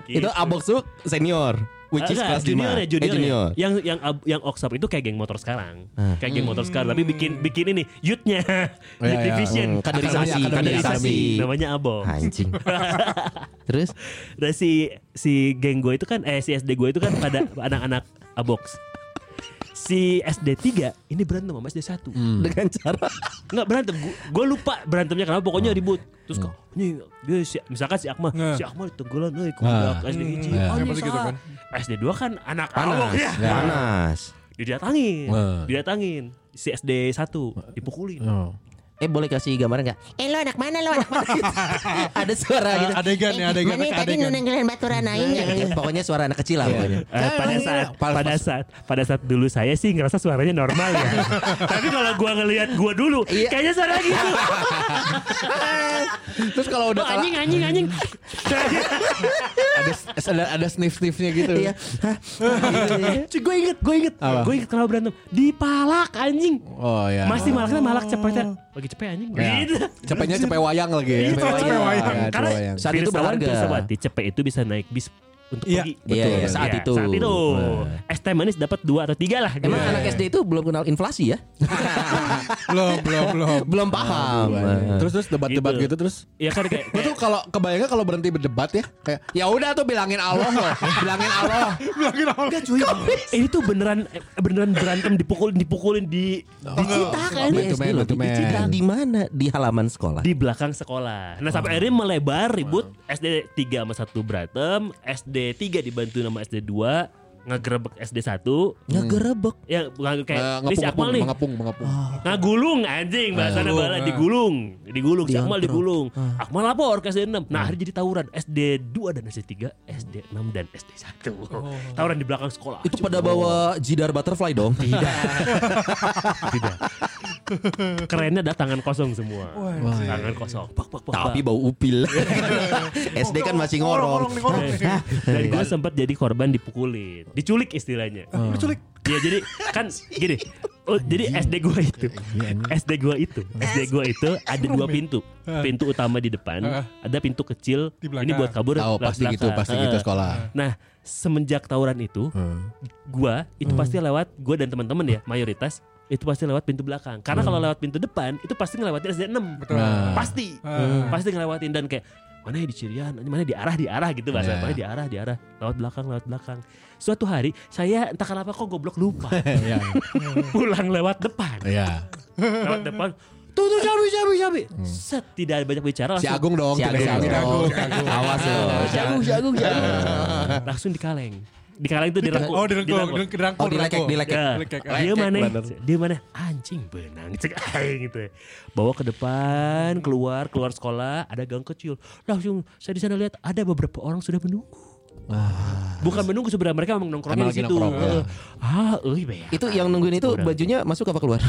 Gitu. Itu abox tuh senior, which is Enggak, kelas 5. junior ya, junior, eh, junior. Ah. ya. Yang yang ab- yang Oksap itu kayak geng motor sekarang. Kayak geng motor sekarang tapi Hmm. bikin bikin ini youth-nya. iya, Youth iya. division. Hmm, Ya, Kaderisasi, Akademi, akademi, Kaderisasi. akademi. Namanya Abox. Ah, Anjing. Terus Nah si si geng gue itu kan eh si SD gue itu kan pada anak-anak abox. Si SD 3 ini berantem sama SD 1. dengan cara Enggak berantem, gue lupa berantemnya kenapa pokoknya ribut. Terus kok ini dia si, misalkan si Akmal, si Akmal ditenggelam euy Ah. kudak SD hiji. Iya. Oh, ini Seperti gitu salah. kan. SD 2 kan anak panas, abox ya. panas. Didatangin, Ah. didatangin. Si SD 1 dipukulin. Oh. Eh boleh kasih gambaran nggak? Eh lo anak mana lo anak mana? Gitu. ada suara gitu. adegan ya, adegan, pakai Mana tadi adegan. nunenggelan baturan aing nggak? Eh, Pokoknya suara anak kecil lah pokoknya. Eh, pada saat pada saat pada saat dulu saya sih ngerasa suaranya normal ya. Tapi kalau gua ngelihat gua dulu Iya. kayaknya suara gitu. Terus kalau udah Oh, kalah anjing anjing anjing. ada ada, ada sniff-sniffnya gitu. Iya. Hah? Cuy gue inget gue inget Apa? gue inget kalau berantem dipalak anjing. Oh ya. Masih malaknya malak cepetnya lagi cepet anjing. Ya. Gitu. Cepetnya cepet wayang lagi ya. Gitu. Cepet wayang. Cepet Karena wayang. Saat itu Pirsawan, berharga. Pirsawati, cepet itu bisa naik bis untuk Iya, pergi. betul. Iya, iya, saat itu. Saat itu. Es teh manis dapat dua atau tiga lah. gitu. Emang anak SD itu belum kenal inflasi ya? Belum, belum, belum. belum paham. Terus terus debat-debat Gitu. gitu. terus Iya kan kayak. Gue tuh kalau kebayangnya kalau berhenti berdebat ya kayak Iya. ya udah tuh bilangin Allah loh, bilangin Allah. Bilangin awal. Enggak cuy. Ini tuh eh, beneran beneran berantem dipukulin dipukulin di Dicita kan Man to man, man to man. Dicita di mana? Di halaman sekolah. di belakang sekolah. Nah sampai akhirnya melebar ribut SD 3 sama 1 berantem, SD 3 dibantu sama SD 2 ngegerebek SD 1 Ngegerebek. ya bukan kayak Eh, ini si Ngepung-ngepung, Akmal nih ngepung, ngepung. ngagulung anjing bahasa Eh. bala Eh. ah. digulung digulung si Akmal Diantrok. digulung Ah. Akmal lapor ke SD 6 nah akhirnya jadi tawuran SD 2 dan SD 3 SD 6 dan SD 1 tawuran di belakang sekolah Itu pada bawa jidar butterfly dong. Iya. Tidak. tidak kerennya ada tangan kosong semua Wah. tangan kosong pak pak pak Tapi pak. bau upil. SD kan masih ngorong. Ngorong, ngorong, ngorong. Eh, dan gue sempat jadi korban dipukulin diculik istilahnya Oh. Diculik. ya jadi kan gini oh, jadi SD gue itu Iya. SD gue itu SD gue itu ada dua pintu pintu utama di depan ada pintu kecil Di belakang. ini buat kabur Tahu belak- pasti gitu, belakang. pasti Eh, gitu sekolah. nah semenjak tawuran itu Hmm. gue itu pasti lewat gue dan teman-teman ya mayoritas itu pasti lewat pintu belakang karena Hmm. kalau lewat pintu depan itu pasti ngelewatin SD 6 Betul. Nah. pasti Hmm. pasti ngelewatin dan kayak mana ya di Cirian mana di arah di arah gitu bahasa Iya. mana di arah di arah lewat belakang lewat belakang suatu hari saya entah kenapa kok goblok lupa Iya. pulang lewat depan Iya. lewat depan tuh tuh cabai cabai cabai set tidak banyak bicara Hmm. Si langsung Agung dong. Si Agung, tidak ya. si Agung. Oh, Awas lo. Jagung, jagung, langsung dikaleng dikaleng itu dirangkul Oh direngkul, dirangkul. direngkul, Oh dilekek, direngkul. dilekek. Ya, Lekek, dia lekek mana? bener. Dia mana? Anjing benang cek aing gitu. ya. Bawa ke depan, keluar, keluar sekolah, ada gang kecil. Langsung saya di sana lihat ada beberapa orang sudah menunggu. Bukan menunggu sebenarnya mereka memang nongkrongnya Ah. Emang di lagi situ. nongkrong, ya. Heeh. Ah, euy beak. Itu yang nungguin itu Udah. bajunya masuk apa keluar?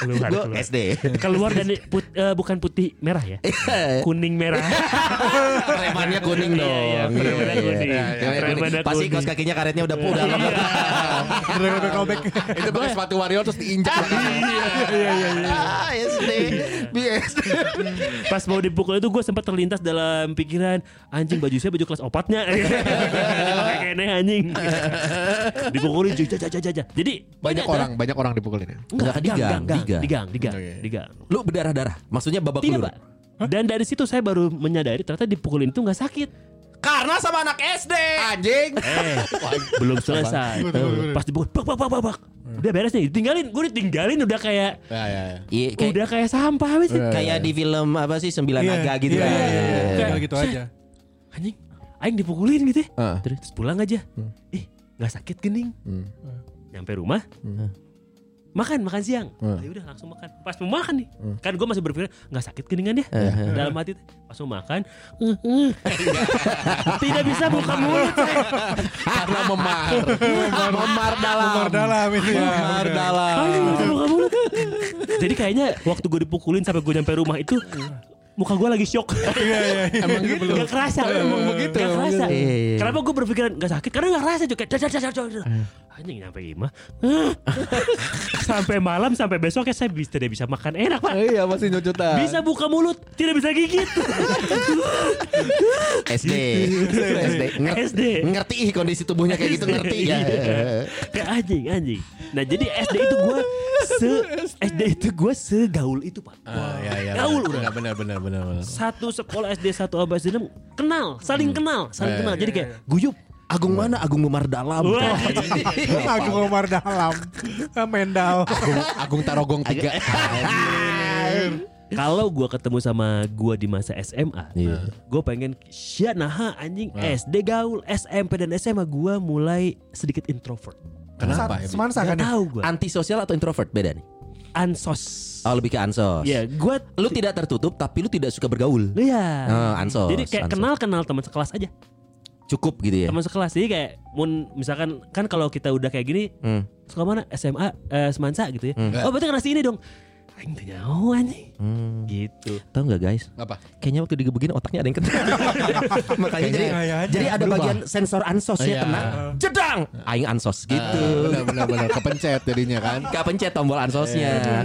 keluar, Gue keluar. SD. Keluar dan put- eh, bukan putih merah ya. Iya. Kuning merah. Premannya kuning Iya, dong. iya, premannya Iya, iya. kuning. Iya, iya, Premannya kuning. Pasti kuning. kaos kakinya karetnya udah pudar. Direngkul, callback. Iya. Itu pakai sepatu warrior terus diinjak. Ah, SD. BSD. Pas mau dipukul itu gue sempat terlintas dalam pikiran anjing baju saya baju kelas opatnya. Pakai kene anjing. Dipukulin cuy, jaja jaja, jaja. Jadi Banyak ini adalah- orang, banyak orang dipukulin ya. Enggak, Enggak, digang, digang, digang, digang. digang, digang, Oke. digang. Lu berdarah-darah. Maksudnya babak Tidak, belur. Pak. Dan dari situ saya baru menyadari ternyata dipukulin itu nggak sakit. Karena sama anak SD. Anjing. Eh, belum selesai. Pas dipukul, bak, bak, bak, bak, bak. Udah beres nih, ditinggalin. Gue ditinggalin udah kayak, Ya, ya, ya. Iya, kayak, Iya. udah kayak sampah habis. kayak di film apa sih Sembilan Iya, Naga gitu iya, kan. iya, iya, iya. Kayak- Tinggal gitu aja. Anjing, aing dipukulin gitu. ya. Heeh. Terus terus pulang aja. Ih, nggak sakit gening. Hmm. Nyampe rumah, makan makan siang ya udah langsung makan pas mau makan nih Hmm. kan gue masih berpikir nggak sakit keningan ya dalam hati tuh. pas mau makan eh, eh. tidak bisa buka mulut saya. Karena memar. Memar dalam. Umar dalam Ah. itu ya. Memar dalam. Aduh, nggak bisa buka mulut jadi kayaknya waktu gue dipukulin sampai gue nyampe rumah itu muka gue lagi shock Iya, iya, iya. Emang gitu belum. Gak kerasa Emang begitu Gak kerasa Iya, iya. Kenapa gue berpikiran Gak sakit Karena gak kerasa juga Dar, dar, dar, dar, dar. Anjing nyampe imah Sampai malam Sampai besoknya Saya bisa, tidak bisa makan enak pak Iya masih nyucutan. Bisa buka mulut Tidak bisa gigit SD. SD. Ngerti, SD ngerti ih kondisi tubuhnya kayak gitu ngerti Iya, ya. Iya. Kayak anjing anjing Nah jadi SD itu gue se SD itu gue segaul itu pak Ah, ya, ya, Gaul benar, udah benar, benar, benar, benar. Satu sekolah SD Satu abad SD enam, Kenal Saling Hmm. kenal Saling Eh. Iya, kenal Jadi kayak Guyup. Agung mana? Agung Memar dalam. Wah. Agung Umar dalam. Eh, Mendal. Agung, Agung Tarogong 3 iya. Kalau gue ketemu sama gue di masa SMA Iya. Gue pengen Sia naha anjing Ah. SD gaul SMP dan SMA Gue mulai sedikit introvert Kenapa ya? Semansa kan Gak ya? tau gue Antisosial atau introvert beda nih? Ansos Oh lebih ke ansos. Ya gue Lu tidak tertutup tapi lu tidak suka bergaul. Iya Oh, ansos. Jadi kayak ansos. Iya. kenal-kenal teman sekelas aja Cukup gitu ya. teman sekelas jadi kayak mun misalkan kan kalau kita udah kayak gini Hmm. suka mana SMA eh, semansa gitu ya oh berarti kena si ini dong Aing teu nyaho anjing Hmm. gitu Tahu nggak guys? Apa? Kayaknya waktu digebukin otaknya ada yang kena. Makanya jadi, Kayaknya. jadi ada Berubah. bagian sensor ansosnya Iya. kena. Jedang. Aing ansos gitu. Ah, benar, benar, benar. Kepencet jadinya kan. Kepencet tombol ansosnya. Iya.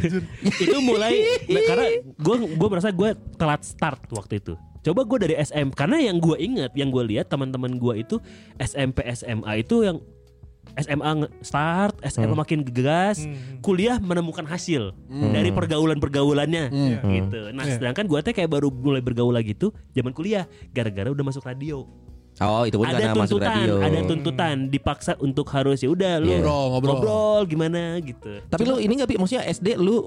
itu mulai nah, karena gue gue merasa gue telat start waktu itu coba gue dari SM karena yang gue inget yang gue lihat teman-teman gue itu SMP SMA itu yang SMA nge- start SMA Hmm. makin gegas Hmm. kuliah menemukan hasil dari pergaulan-pergaulannya Hmm. gitu nah Iya. sedangkan gue teh kayak baru mulai bergaul lagi tuh zaman kuliah gara-gara udah masuk radio Oh itu pun ada karena masuk tuntutan radio. ada tuntutan dipaksa untuk harus ya udah lu Iya. Ngobrol, ngobrol. ngobrol gimana gitu Tapi lu ini nggak Bi? maksudnya SD lu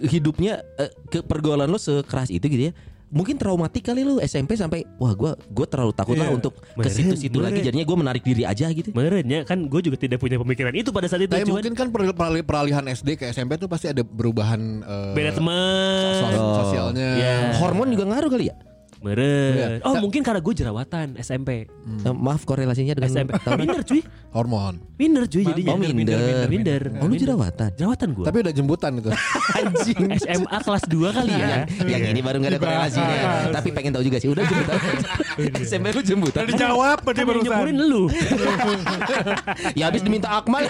hidupnya eh, ke pergaulan lu sekeras itu gitu ya. Mungkin traumatik kali lu SMP sampai wah gua gua terlalu takut lah Iya. untuk ke Meren, situ-situ meren. lagi jadinya gua menarik diri aja gitu. Merenya kan gue juga tidak punya pemikiran itu pada saat itu Tapi Iya, cuman mungkin kan perali- perali- peralihan SD ke SMP tuh pasti ada perubahan eh, beda teman sos- Oh. sosialnya. Iya. Hormon juga ngaruh kali ya? Iya. meren oh Ta- mungkin karena gue jerawatan SMP Eh, maaf korelasinya dengan SMP tahun- minder cuy Hormon. minder cuy jadinya Oh, minder. minder Oh, lu jerawatan. jerawatan gue Tapi udah jembutan itu. Anjing. SMA kelas 2 kali ya Yang, yang ini baru gak ada korelasinya Tapi pengen tahu juga sih Udah jemputan SMP lu jemputan Udah dijawab kan dia yang barusan. nyemburin lu Ya habis diminta Akmal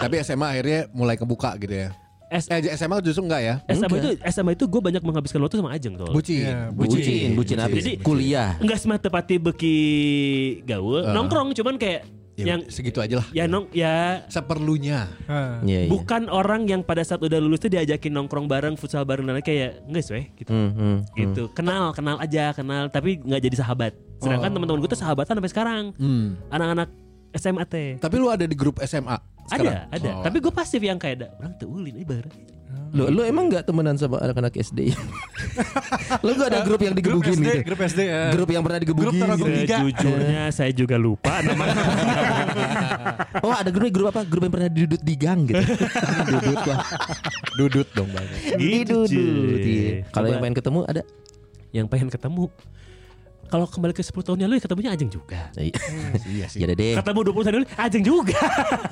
Tapi SMA akhirnya mulai kebuka gitu ya. S- Eh SMA justru enggak ya? SMA itu SMA itu gue banyak menghabiskan waktu sama Ajeng tuh Bucin. Iya, Bucin Bucin habis Jadi- Kuliah enggak semata pati beki gaul Eh. nongkrong cuman kayak Iya. Ya, yang segitu aja lah. ya nong ya Seperlunya. Ah. Iya, iya. bukan orang yang pada saat udah lulus tuh diajakin nongkrong bareng futsal bareng dan lain-lain, kayak enggak sih gitu Hmm, hmm. gitu kenal kenal aja kenal tapi nggak jadi sahabat sedangkan Oh. teman-teman gue tuh sahabatan sampai sekarang Hmm. anak-anak SMA teh Tapi lu ada di grup SMA sekarang? ada ada Oh. Iya, tapi gue pasif yang kayak ada orang tuh ulin ibarat Lu lu emang nggak temenan sama anak-anak SD? lu gak ada grup yang Grup digebukin SD, gitu? grup SD. eh. Grup yang pernah digebukin Grup taruh gitu. grup tiga. Sejujurnya saya juga lupa namanya. Oh ada grup grup apa? Grup yang pernah didudut di gang gitu. dudut lah. Dudut dong banget. Gitu, Didudut. cuy. iya. Kalau Coba yang pengen ketemu ada? yang pengen ketemu. Kalau kembali ke 10 tahun yang lalu ya ketemunya Ajeng juga. Iya Nah, Ya udah deh. Ketemu 20 tahun yang lalu Ajeng juga.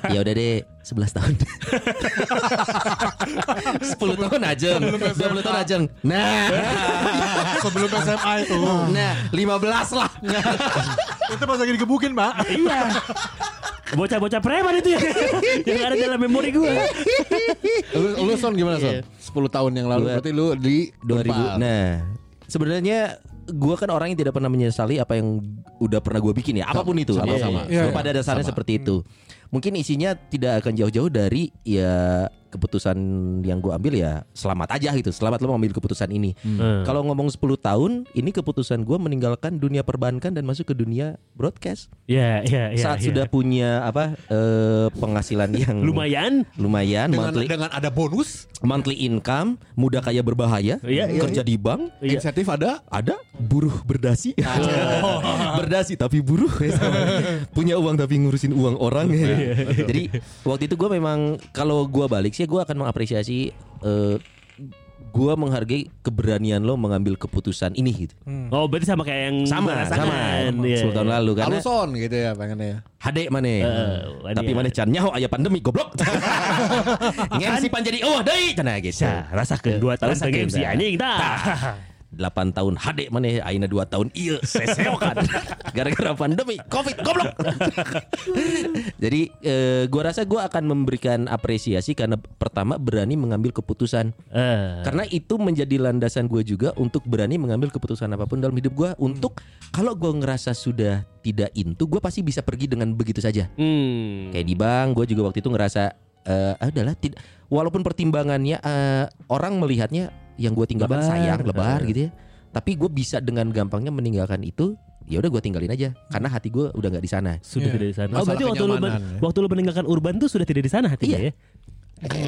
Ya udah deh, 11 tahun. 10 tahun aja. 20 tahun aja. Nah. Sebelum SMA itu. Nah, 15 lah. itu pas lagi digebukin, Pak. iya. Bocah-bocah preman itu ya. yang ada dalam memori gue. Lu, lu son gimana Iya. son? 10 tahun yang lalu Gua- berarti lu di 2000. 2000. Nah, sebenarnya gua kan orang yang tidak pernah menyesali apa yang udah pernah gua bikin ya, apapun itu. sama, Iya, sama. Hmm. iya, iya. Iya, Pada dasarnya seperti itu. Mungkin isinya tidak akan jauh-jauh dari ya keputusan yang gua ambil ya selamat aja gitu. Selamat lo mengambil keputusan ini. Hmm. Kalau ngomong 10 tahun, ini keputusan gua meninggalkan dunia perbankan dan masuk ke dunia broadcast. ya, ya, ya. Iya, Saat ya. sudah punya apa eh, penghasilan yang lumayan lumayan Dengan, monthly dengan ada bonus, monthly income, muda kaya berbahaya, Iya, iya, kerja di bank, Iya. insentif ada ada buruh berdasi berdasi tapi buruh ya sama. punya uang tapi ngurusin uang orang Iya, ya. jadi waktu itu gue memang kalau gue balik sih gue akan mengapresiasi eh, gue menghargai keberanian lo mengambil keputusan ini gitu Oh berarti sama kayak yang sama balasangan. sama Iya, 10 tahun iya. Eh, lalu Kalau karena son gitu ya pengennya. Hade mana waduh. Tapi mana can nyaho Aya pandemi goblok Ngemsi pan jadi Oh deh Cana gitu Sa, rasa ke dua tahun Rasa pengen ke- si anjing dah. 8 tahun HD mana Aina 2 tahun iya seseokan gara-gara pandemi covid goblok jadi eh, gua rasa gua akan memberikan apresiasi karena pertama berani mengambil keputusan Eh, karena itu menjadi landasan gue juga untuk berani mengambil keputusan apapun dalam hidup gua untuk kalau gua ngerasa sudah tidak into gua pasti bisa pergi dengan begitu saja Hmm. kayak di bank gue juga waktu itu ngerasa eh adalah tidak walaupun pertimbangannya eh, orang melihatnya yang gue tinggalkan Lebar. sayang lebar gitu ya tapi gue bisa dengan gampangnya meninggalkan itu ya udah gue tinggalin aja karena hati gue udah nggak di sana sudah Iya. tidak di sana. Oh Masalah berarti waktu lu, kenyamanan, ya. waktu lu meninggalkan urban tuh sudah tidak di sana hatinya Iya. ya.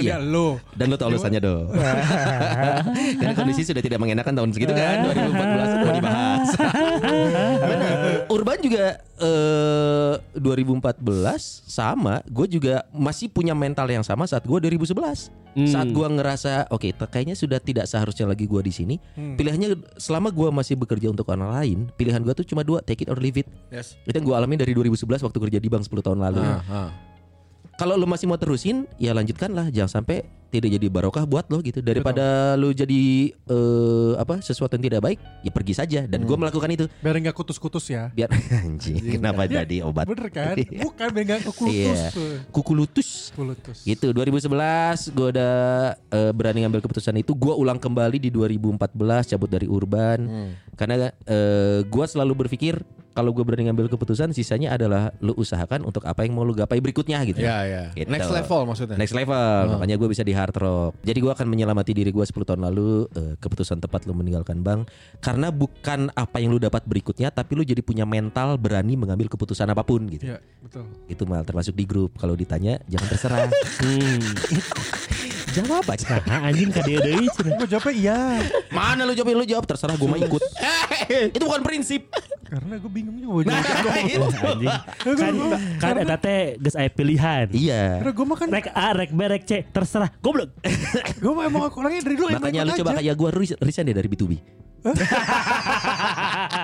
Iya. Lu. dan lo tau alasannya dong karena kondisi sudah tidak mengenakan tahun segitu kan 2014 mau dibahas Benar. Urban juga eh, 2014 sama gue juga masih punya mental yang sama saat gue 2011 Hmm. saat gue ngerasa oke te- kayaknya sudah tidak seharusnya lagi gue di sini pilihannya selama gue masih bekerja untuk orang lain pilihan gue tuh cuma dua take it or leave it Yes. itu yang gue alami dari 2011 waktu kerja di bank 10 tahun lalu Ah. kalau lu masih mau terusin ya lanjutkanlah jangan sampai tidak jadi barokah buat lo gitu daripada lu jadi eh, apa sesuatu yang tidak baik ya pergi saja dan gua melakukan itu Biar nggak kutus-kutus ya. biar anjing kenapa Iya, jadi obat Bener kan? Iya. Bukan biar nggak kutus. Iya. kuku lutus Kutus. gitu 2011 gua udah eh, berani ngambil keputusan itu gua ulang kembali di 2014 cabut dari urban Hmm. karena eh, gua selalu berpikir kalau gue berani ngambil keputusan sisanya adalah lu usahakan untuk apa yang mau lu gapai berikutnya gitu Ya ya. Gitu. Next level Nah. maksudnya. Next level, Ah. makanya gue bisa di hard rock. Jadi gue akan menyelamati diri gue 10 tahun lalu eh, keputusan tepat lu meninggalkan bank karena bukan apa yang lu dapat berikutnya, tapi lu jadi punya mental berani mengambil keputusan apapun gitu. Iya, betul. Itu mal termasuk di grup. Kalau ditanya jangan terserah. Hmm. Jawab aja. Nah, anjing kadeu deui cenah. Gue jawabnya iya. Mana lu jawabin lu jawab terserah gue mau ikut. Eh, itu bukan prinsip. Karena gue bingung juga. gua Nah, jawab. itu. Anjing. Kan kan eta teh geus aya pilihan. Iya. Karena gue mah kan, Rek A, rek B, rek C, terserah. Goblok. gue mah emang orangnya dari dulu Makanya lu ikut-ikut coba aja. kayak gue resign deh dari B2B.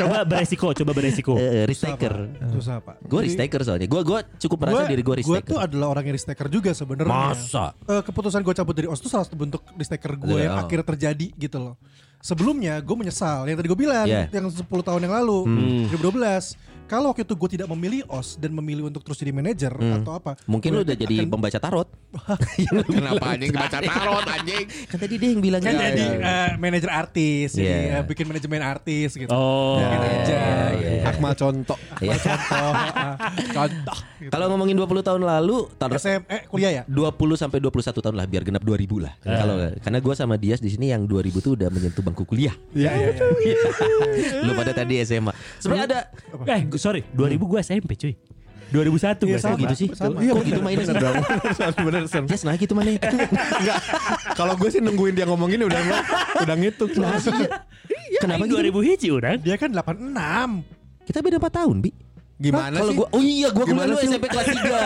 coba beresiko, coba Oh, beresiko. Eh, Susah, Pak. risk-taker. Susah pak Gue risk taker soalnya. Gue gue cukup merasa diri gue risk Gue taker. tuh adalah orang yang risk taker juga sebenarnya. Masa? Eh, keputusan gue cabut dari OS itu salah satu bentuk risk taker gue yang Oh. akhirnya terjadi gitu loh. Sebelumnya gue menyesal yang tadi gue bilang Yeah. yang 10 tahun yang lalu Hmm. 2012. Kalau waktu itu gue tidak memilih OS dan memilih untuk terus jadi manajer atau apa? Hmm. Mungkin lu gua udah jadi akan- pembaca tarot. Kenapa anjing dibaca tarot anjing? Kan tadi dia yang bilang kan gitu. jadi eh, manajer artis, jadi Yeah. eh, bikin manajemen artis gitu. Oh. Mungkin aja. Akmal Hmm. contoh. Ya, Iya. Contoh, eh, contoh. gitu. Kalau ngomongin 20 tahun lalu, Iya, tar- SM, eh kuliah ya? 20 sampai 21 tahun lah biar genap 2000 lah. Iya. Kalau karena gua sama Dias di sini yang 2000 tuh udah menyentuh bangku kuliah. Iya, iya, iya. lu pada tadi SMA. Sebenarnya ada Eh, gu- sorry, 2000 gue SMP cuy. 2001 ya, Iya, sama. gitu sih. Sama. Iya, kok gitu mainnya sih? bener Sam. Yes, nah gitu mana? Enggak. Kalau gue sih nungguin dia ngomong gini udah Kan udah ngitung. Kenapa Kenapa gitu? 2000 hiji udah? Dia kan 86. Kita beda 4 tahun, Bi. Gimana Kalau sih? gua oh iya gua kuliah Gimana lu sih? Ah. SMP kelas 3.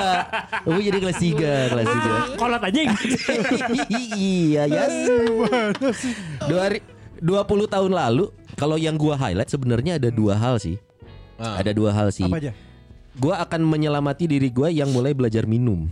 Gua jadi kelas 3, kelas Kolot aja. 3. iya, yes. Dua hari- 20 tahun lalu kalau yang gua highlight sebenarnya ada dua hal sih. Ah. Ada dua hal sih. Apa aja? Gua akan menyelamati diri gua yang mulai belajar minum.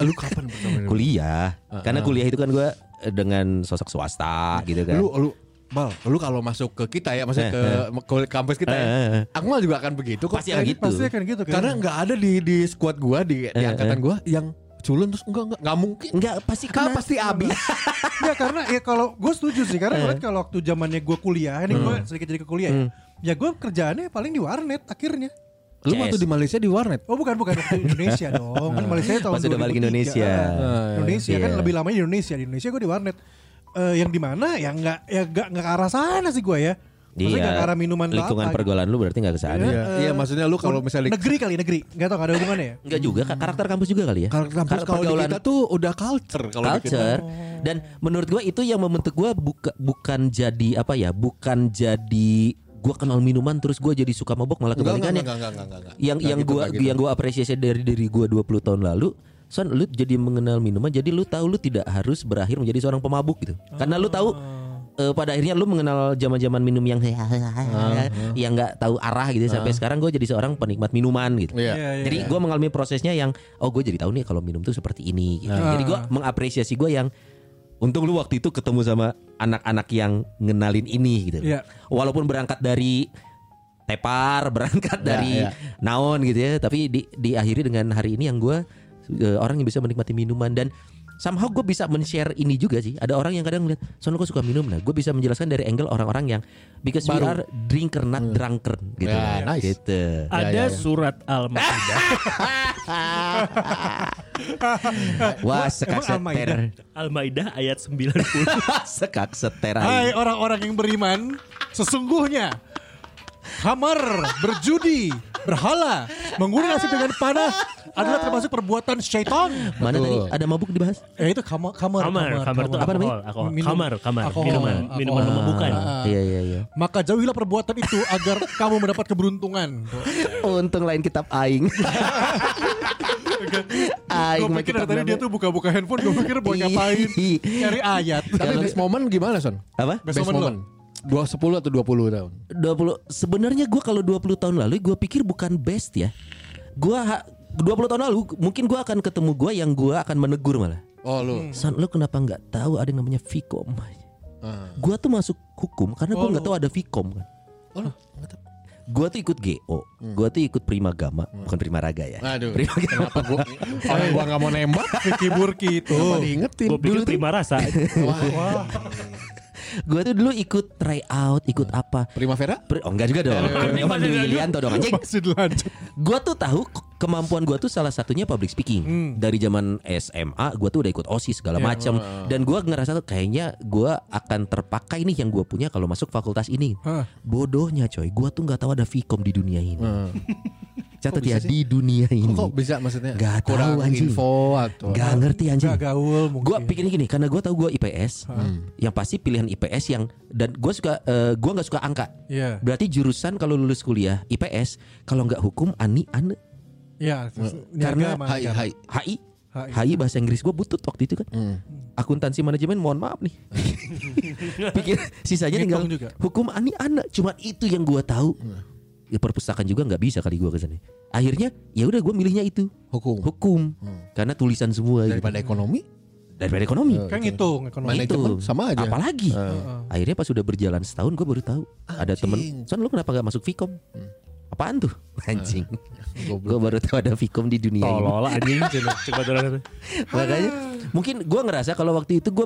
Lu kapan pertama minum? kuliah. Karena kuliah itu kan gua eh, dengan sosok swasta gitu kan. Lu lu Bal, lu kalau masuk ke kita ya, maksudnya ke, ke kampus kita ya. Eh, eh, eh. Aku malah juga akan begitu kok. Pasti akan Kayak- gitu. Pasti akan gitu kan. Karena nggak ada di di squad gua Eh, di, di angkatan gua yang culun terus enggak enggak nggak mungkin. Enggak pasti Ah, kena. pasti abis. ya karena ya kalau gue setuju sih karena Eh. kemarin kalau waktu zamannya gue kuliah ini Hmm. gue sedikit jadi ke kuliah ya. Ya gue kerjaannya paling di warnet akhirnya. Lu waktu di Malaysia di warnet. Oh bukan bukan waktu Indonesia dong. Kan Malaysia tahun Ah. Pas udah balik 2003. Indonesia. Ah, Indonesia kan Iya. lebih lamanya di Indonesia. Di Indonesia gue di warnet. Eh, yang di mana ya nggak ya nggak nggak ke arah sana sih gue ya. Maksudnya nggak ke arah minuman atau Iya. lingkungan apa. gitu. pergaulan lu berarti nggak kesana. Iya, iya, maksudnya lu kalau misalnya negeri kali negeri nggak tau nggak ada hubungannya ya. Enggak juga ka- karakter kampus juga kali ya. Kalau kampus Kar- kalau di pergaulan kita tuh udah culture kalau di kita. culture Oh. dan menurut gua itu yang membentuk gua buka, bukan jadi apa ya, bukan jadi gua kenal minuman terus gua jadi suka mabok malah Enggak, enggak, kebalikannya. enggak, enggak, enggak, enggak, enggak. Yang Enggak yang gitu, gua enggak gitu. yang gua apresiasi dari diri gua 20 tahun lalu Son, lu jadi mengenal minuman, jadi lu tahu lu tidak harus berakhir menjadi seorang pemabuk gitu. Karena lu tahu Oh. eh, pada akhirnya lu mengenal zaman-zaman minum yang Ah, yang nggak tahu arah gitu. Sampai sekarang gue jadi seorang penikmat minuman gitu. Iya. Iya, iya. Jadi gue mengalami prosesnya yang oh gue jadi tahu nih kalau minum tuh seperti ini. Gitu. Ah. Jadi gue mengapresiasi gue yang untung lu waktu itu ketemu sama anak-anak yang ngenalin ini gitu. Iya. Walaupun berangkat dari tepar, berangkat dari iya. naon gitu ya, tapi di diakhiri dengan hari ini yang gue orang yang bisa menikmati minuman dan somehow gue bisa men-share ini juga sih. Ada orang yang kadang ngeliat, soalnya gue suka minum, nah gue bisa menjelaskan dari angle orang-orang yang because we are drinker not Hmm. drunker gitu. Nah, Ya, nice. Gitu. ya, Ada ya. surat Al-Maidah. Wah, sekak sekak Eh, emang Al-Maidah? seter. Al-Maidah ayat 90. sekak seter. Hai orang-orang yang beriman, sesungguhnya hamar, berjudi, berhala, mengurung nasib dengan panah adalah termasuk perbuatan syaitan. Mana tadi Betul. ada mabuk dibahas? Ya itu kamar, kamar, Kamar, kamar itu Apa namanya? alkohol, alkohol. Minum. Kamar, kamar, Alkohol, minuman, alkohol. minuman Ah. memabukkan. Iya iya iya. Maka jauhilah perbuatan itu agar kamu mendapat keberuntungan. Untung lain kitab aing. aing Gue mah pikir dari kitab tadi dia namanya. tuh buka-buka handphone, gue pikir mau ngapain. Ih. Cari ayat. Tapi best moment gimana, Son? Apa? Best moment lo? Dua sepuluh atau dua puluh tahun? 20 sebenarnya gua kalau 20 tahun lalu gua pikir bukan best ya. Gua ha- 20 tahun lalu mungkin gua akan ketemu gua yang gua akan menegur malah. Oh lu. Son, lu kenapa nggak tahu ada yang namanya Vicom? Ah. Gua tuh masuk hukum karena gua Oh, nggak tahu ada Vicom kan. Oh lu. Gua tuh ikut GO, Hmm. gua tuh ikut Prima Gama, bukan Prima Raga ya. Ah. Aduh. Prima Gama. Kenapa gua orang gua nggak mau nembak? Vicky Burki itu. Kenapa diingetin? Gue pikir terima rasa. Iya, Wah, Gua tuh dulu ikut tryout, ikut Hmm. apa? Primavera? Pri- Oh enggak juga dong. Prima Dwi Ilianto dong anjing. Masih dilanjut. Gua tuh tahu k- kemampuan gua tuh salah satunya public speaking. Hmm. Dari zaman SMA gua tuh udah ikut OSIS Ya, segala macam dan gua ngerasa tuh kayaknya gua akan terpakai nih yang gua punya kalau masuk fakultas ini. Hah. Bodohnya coy, gua tuh nggak tahu ada Vkom di dunia ini. Catat ya di dunia ini. Kok bisa maksudnya? Nggak tahu, kurang anjing. info atau Gak ngerti anjing. Gak gaul mungkin. Gue pikirnya gini, karena gue tahu gue IPS, Hmm. yang pasti pilihan IPS yang dan gue suka, eh, gua nggak suka angka. Iya. Berarti jurusan kalau lulus kuliah IPS, kalau nggak hukum ani ane Iya. niaga Karena sama Hai, angkar. hai. HI. HI. HI bahasa Inggris gue butut waktu itu kan. Hmm. Akuntansi manajemen mohon maaf nih. Hmm. Pikir sisanya tinggal Ngitung juga. hukum ani ane Cuman itu yang gue tahu. Hmm. Ya, perpustakaan juga nggak bisa kali gue kesana. Akhirnya ya udah gue milihnya itu hukum hukum karena tulisan semua gitu. Hmm. daripada ekonomi? daripada ekonomi. Gitu. Kan ngitung ekonomi. Mana- Manajemen sama aja. Hmm. Apalagi Hmm. akhirnya pas sudah berjalan setahun gue baru tahu ada temen. Son lu kenapa gak masuk Vicom? Hmm. Apaan tuh? Anjing. gue baru tahu ada Vicom di dunia ini. Tolol anjing. Coba tolong. Makanya mungkin gue ngerasa kalau waktu itu gue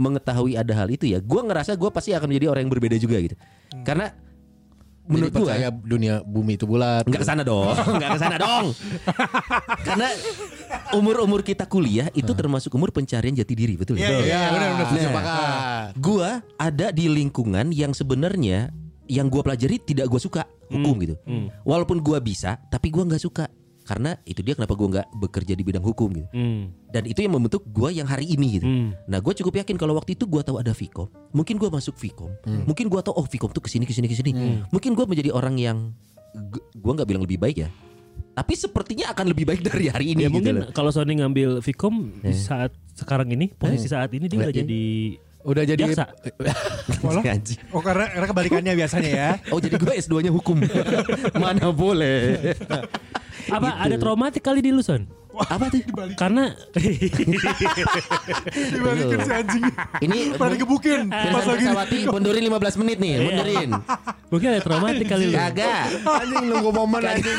mengetahui ada hal itu ya, gue ngerasa gue pasti akan menjadi orang yang berbeda juga gitu. Karena menurut Jadi gue percaya ya, dunia bumi itu bulat. Nggak kesana dong, nggak kesana dong. Karena umur-umur kita kuliah itu termasuk umur pencarian jati diri, betul? Iya, Betul. iya, benar, benar. Nah, Sepakat. gua ada di lingkungan yang sebenarnya yang gua pelajari tidak gua suka hukum gitu. Walaupun gua bisa, tapi gua nggak suka. karena itu dia kenapa gue nggak bekerja di bidang hukum gitu Hmm. dan itu yang membentuk gue yang hari ini gitu Hmm. nah gue cukup yakin kalau waktu itu gue tahu ada Vkom mungkin gue masuk Vkom Hmm. mungkin gue tahu oh Vkom tuh kesini kesini kesini mungkin gue menjadi orang yang gue nggak bilang lebih baik ya tapi sepertinya akan lebih baik dari hari Ya ini gitu mungkin loh. kalau Sony ngambil Vicom di saat sekarang ini, posisi saat ini dia Lah, udah iya. jadi Udah jadi Jaksa. Walah. Anjing. Oh karena, karena kebalikannya biasanya ya. Oh jadi gue S2-nya hukum. Mana boleh. apa gitu. ada traumatik kali di Luson? Apa tuh? Karena Dibalikin si anjing. Ini Pada digebukin pas lagi. Sawati mundurin 15 menit Iya. nih, mundurin. mungkin ada traumatik kali Iya. lu. Kagak. anjing nunggu momen anjing.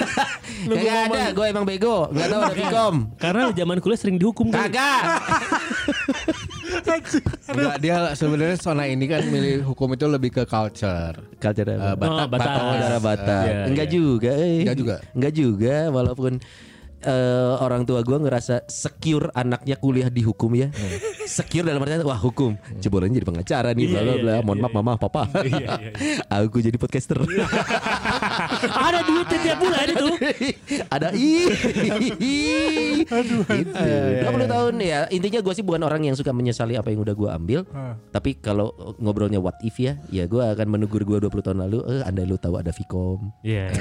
Kagak ada, gue emang bego. Gak tahu ada Vicom. Karena zaman kuliah sering dihukum kan. Kagak. Enggak, dia sebenarnya zona ini kan milih hukum itu lebih ke culture. Culture Eh, Batak, Oh, Batak. Batak, Saudara Batak. Iya, Enggak iya. juga. eh. Enggak juga. Enggak juga walaupun eh, orang tua gue ngerasa secure anaknya kuliah di hukum ya. Hmm. secure dalam artian wah hukum. Jebolannya jadi pengacara nih Iya, bla bla iya, bla. iya, Mohon iya, maaf mama, papa. Iya, iya, Aku jadi podcaster. ada duit tiap bulan itu. Ada i. Aduh. Gitu. Iya, 20 tahun ya. Intinya gue sih bukan orang yang suka menyesali apa yang udah gue ambil. Ah. Tapi kalau ngobrolnya what if ya, ya gue akan menegur gue 20 tahun lalu, eh andai lu tahu ada Vicom. Iya.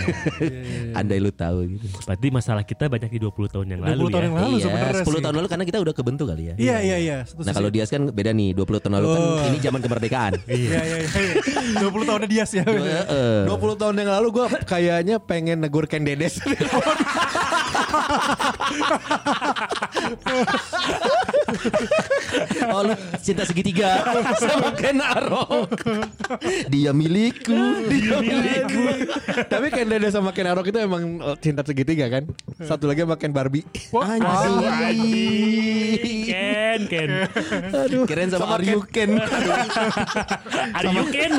Andai lu tahu gitu. Berarti masalah kita banyak di 20 tahun yang 20 lalu tahun ya. yang lalu iya, sebenarnya 10 sih. tahun lalu karena kita udah kebentuk kali ya. Iya iya iya. Setuju Nah kalau sih. Dias kan beda nih 20 tahun lalu kan Oh. ini zaman kemerdekaan. Iya iya iya. 20 tahunnya dia sih. Heeh. 20 tahun yang lalu gue kayaknya pengen negur Ken Dedes. Oh lu cinta segitiga sama Ken Arok. Dia milikku, dia milikku. Tapi Ken Dedes sama Ken Arok itu emang eh, cinta segitiga kan? Satu lagi sama Ken Barbie. Anjing. Ken, Ken. Aduh. Keren sama, Aryu Ken. Are you Ken?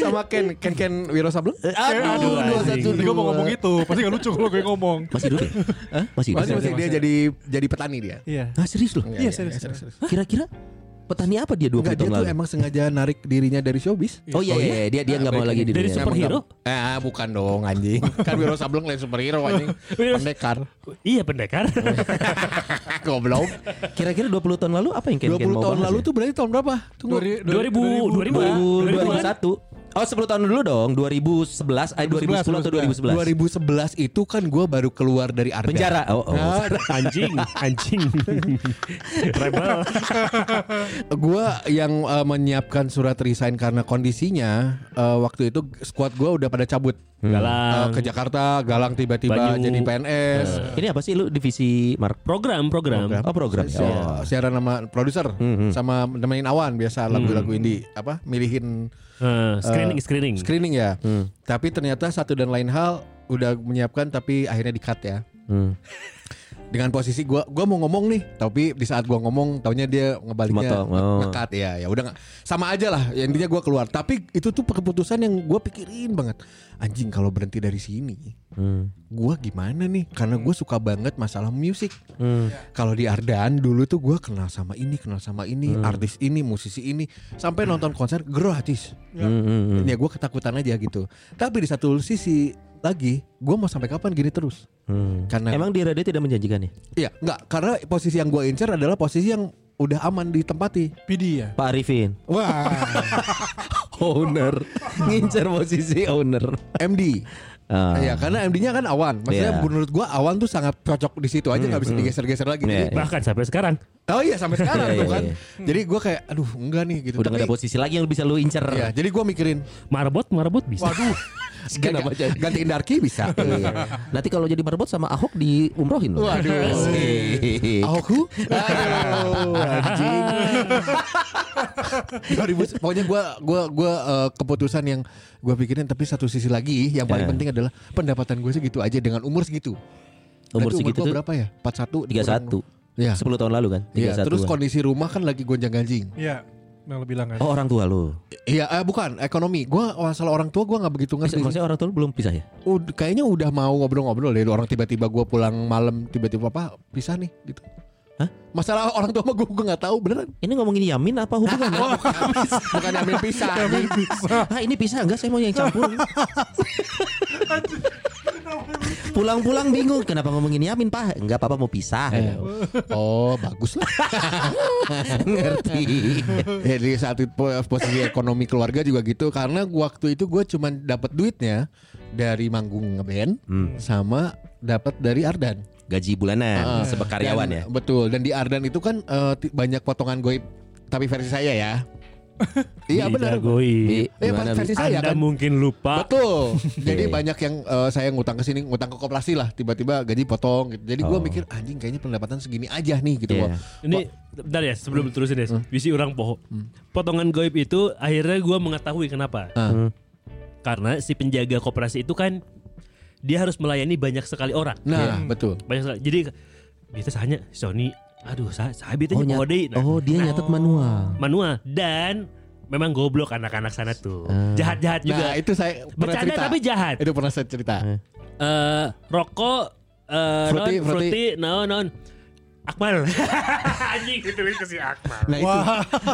sama Ken Ken Ken Wiro Sableng. Eh, Aduh, Aduh, dua anjing. satu Tadi gue dua. mau ngomong itu. Pasti gak lucu kalau gue ngomong. Masih hidup ya? Hah? Masih hidup. Masih, masih dia jadi jadi petani dia. Iya. Ah serius loh. Iya serius. serius. Kira-kira petani apa dia 20 Enggak dia tahun tuh lalu? emang sengaja narik dirinya dari showbiz. Oh iya, iya, iya. dia dia nggak mau lagi di Dari dunia. superhero? Eh bukan dong anjing. kan Wiro Sableng lain superhero anjing. Wiro- Pendekar. Iya pendekar. Goblok. Kira-kira 20 tahun lalu apa yang Ken 20 Ken mau tahun bahas lalu ya? tuh berarti tahun berapa? Tunggu. 2000 2000 2000 2001. Oh 10 tahun dulu dong 2011 eh 2010 atau 2011 2011 itu kan gue baru keluar dari Arda. Penjara oh, oh. Nah, anjing, anjing. Rebel. gue yang eh, menyiapkan surat resign karena kondisinya eh, waktu itu squad gue udah pada cabut Eh, Galang. ke Jakarta, Galang tiba-tiba Banyu. Eh. jadi PNS. Ini apa sih lu divisi mark Program, program. Oh program ya Hmm, oh. Siaran- Siaran sama produser sama nemenin awan biasa Hmm. lagu-lagu indie apa milihin Eh, eh, screening, screening. screening ya. Hmm. Tapi ternyata satu dan lain hal udah menyiapkan tapi akhirnya di cut ya. Hmm. dengan posisi gua gua mau ngomong nih tapi di saat gua ngomong taunya dia ngebaliknya Motong, oh. ngekat ya ya udah nggak- sama aja lah ya, intinya gua keluar tapi itu tuh keputusan yang gua pikirin banget anjing kalau berhenti dari sini Hmm. gua gimana nih karena gue suka banget masalah musik Hmm. kalau di Ardaan dulu tuh gua kenal sama ini kenal sama ini Hmm. artis ini musisi ini sampai nonton konser gratis Hmm, hmm, hmm. ya gua ketakutan aja gitu tapi di satu sisi lagi gua mau sampai kapan gini terus Hmm. karena Emang di radio tidak menjanjikan ya Iya, enggak karena posisi yang gue incer adalah posisi yang udah aman ditempati. PD ya. Pak Arifin Wah, Owner Ngincer posisi owner MD. Ah. Iya, karena MD-nya kan Awan. Maksudnya Iya. Hmm, menurut gua Awan tuh sangat cocok di situ aja nggak bisa digeser-geser lagi. Iya, Jadi- iya. Bahkan sampai sekarang. Oh iya sampai sekarang Iya, tuh iya, kan. iya. Jadi gua kayak aduh enggak nih gitu. Udah nggak ada posisi lagi yang bisa lu incer Iya, jadi gua mikirin Marbot, marbot bisa. waduh Kenapa ganti- gantiin Darky bisa. Iya. Nanti kalau jadi marbot sama Ahok di umrohin loh. Waduh. Asik. Ahoku? Aduh, anjing. 2000 pokoknya gua gua gua eh, keputusan yang gua pikirin tapi satu sisi lagi yang paling Ya. penting adalah pendapatan gue segitu aja dengan umur segitu. Umur Berarti segitu gua tuh berapa ya? 41 31. Iya. 10 tahun lalu kan? Iya, 31. terus kondisi rumah kan lagi gonjang-ganjing. Iya. Yang lebih bilang kan. Oh orang tua lu. Iya, eh, bukan ekonomi. Gua masalah orang tua gua nggak begitu Eh, ngerti. Maksudnya orang tua lu belum pisah ya? Ud- kayaknya udah mau ngobrol-ngobrol deh orang tiba-tiba gua pulang malam tiba-tiba apa pisah nih gitu. Hah? Masalah orang tua mah gua gua nggak tahu beneran. Ini ngomongin Yamin apa hubungan? Ah, Bukan ambil pisah. ah ini pisah enggak? Saya mau yang campur. Pulang-pulang bingung kenapa ngomongin Yamin, Pak? Enggak apa-apa mau pisah. Eh. Oh bagus lah Ngerti. ya, Di saat itu po- posisi ekonomi keluarga juga gitu Karena waktu itu gue cuman dapat duitnya Dari manggung ngeband Hmm. Sama dapat dari Ardan Gaji bulanan Heeh. sebekaryawan Ah. Dan- ya. Betul. Dan di Ardan itu kan eh, ti- banyak potongan goib tapi versi saya ya. iya benar. Dijagoin. Di- Iya gimana, versi Bi? saya Anda kan. mungkin lupa. Betul. Jadi Iya. banyak yang eh, saya ngutang ke sini, ngutang ke koperasi lah, tiba-tiba gaji potong gitu. Jadi gua Oh. mikir anjing kayaknya pendapatan segini aja nih gitu Iya. gua. Ini bentar ya sebelum terusin ya. Bisi orang poho. Potongan goib itu akhirnya gue mengetahui kenapa. Ah. Karena si penjaga koperasi itu kan dia harus melayani banyak sekali orang. Nah, betul. Banyak sekali. Jadi biasa hanya Sony. Aduh, saya saya bete Oh, oh, nyat- oh, dia nyatet manual. manual dan memang goblok anak-anak sana tuh. Jahat-jahat juga. Nah, itu saya pernah Bercanda cerita. tapi jahat. Itu pernah saya cerita. eh rokok eh Fruity, non fruity. fruity, non non Akmal anjing ditulis ke si Akmal Nah, itu.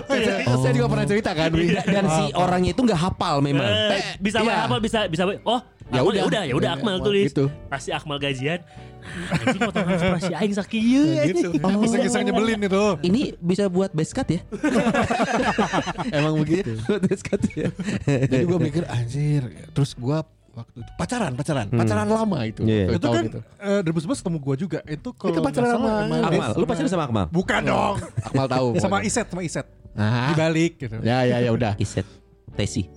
Saya- Saya juga pernah cerita kan. Wi? Dan si orangnya itu nggak hafal memang. Eh, bisa iya. apa bisa bisa apa? oh ya Ya udah. udah udah ya udah Akmal tulis Gitu. pasti Akmal gajian Nah, anjing potongan operasi aing Iya. sakieu Gitu. Oh. Kisah-kisah nyebelin itu. Ini bisa buat base cut ya? Emang begitu. buat base cut ya. Jadi gue mikir anjir. Terus gue waktu itu pacaran, pacaran, Hmm. pacaran lama itu. Iya. Satu Itu tahun kan eh, 2011 ketemu gue juga. Itu kalau Itu pacaran nggak salah sama emang- Akmal, lu pacaran sama Akmal? Bukan dong. Akmal tahu. Sama pokoknya. Iset, sama Iset. Ah. Dibalik gitu. Oh, Ya ya ya udah. Iset Tesi.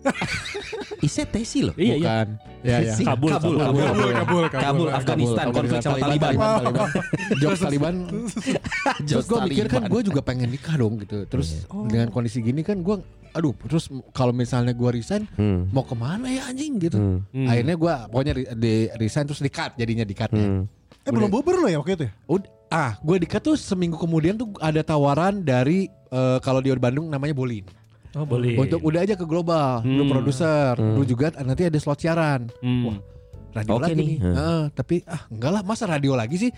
Iset Tesi loh. iya iya Bukan. Ya ya. Tesi. Kabul, Kabul, Kabul, Kabul, Kabul, Kabul, Kabul, Kabul. Afghanistan, konflik sama Taliban. Jokes Taliban. Terus gue mikir kan gue juga pengen nikah dong gitu. Terus dengan kondisi gini kan gue aduh terus kalau misalnya gue resign Hmm. mau kemana ya anjing gitu. Hmm. Akhirnya gue pokoknya re- di resign terus di cut jadinya di cutnya. Eh belum bober lo ya waktu itu ya? Ud- ah gue di cut tuh seminggu kemudian tuh ada tawaran dari eh, kalau di Bandung namanya Bolin. oh, boleh Untuk udah aja ke global, lu Hmm. produser, lu juga nanti ada slot siaran. Hmm. Wah, Oke radio lagi nih. nih. Hmm. Heeh, tapi ah enggak lah, masa radio lagi sih?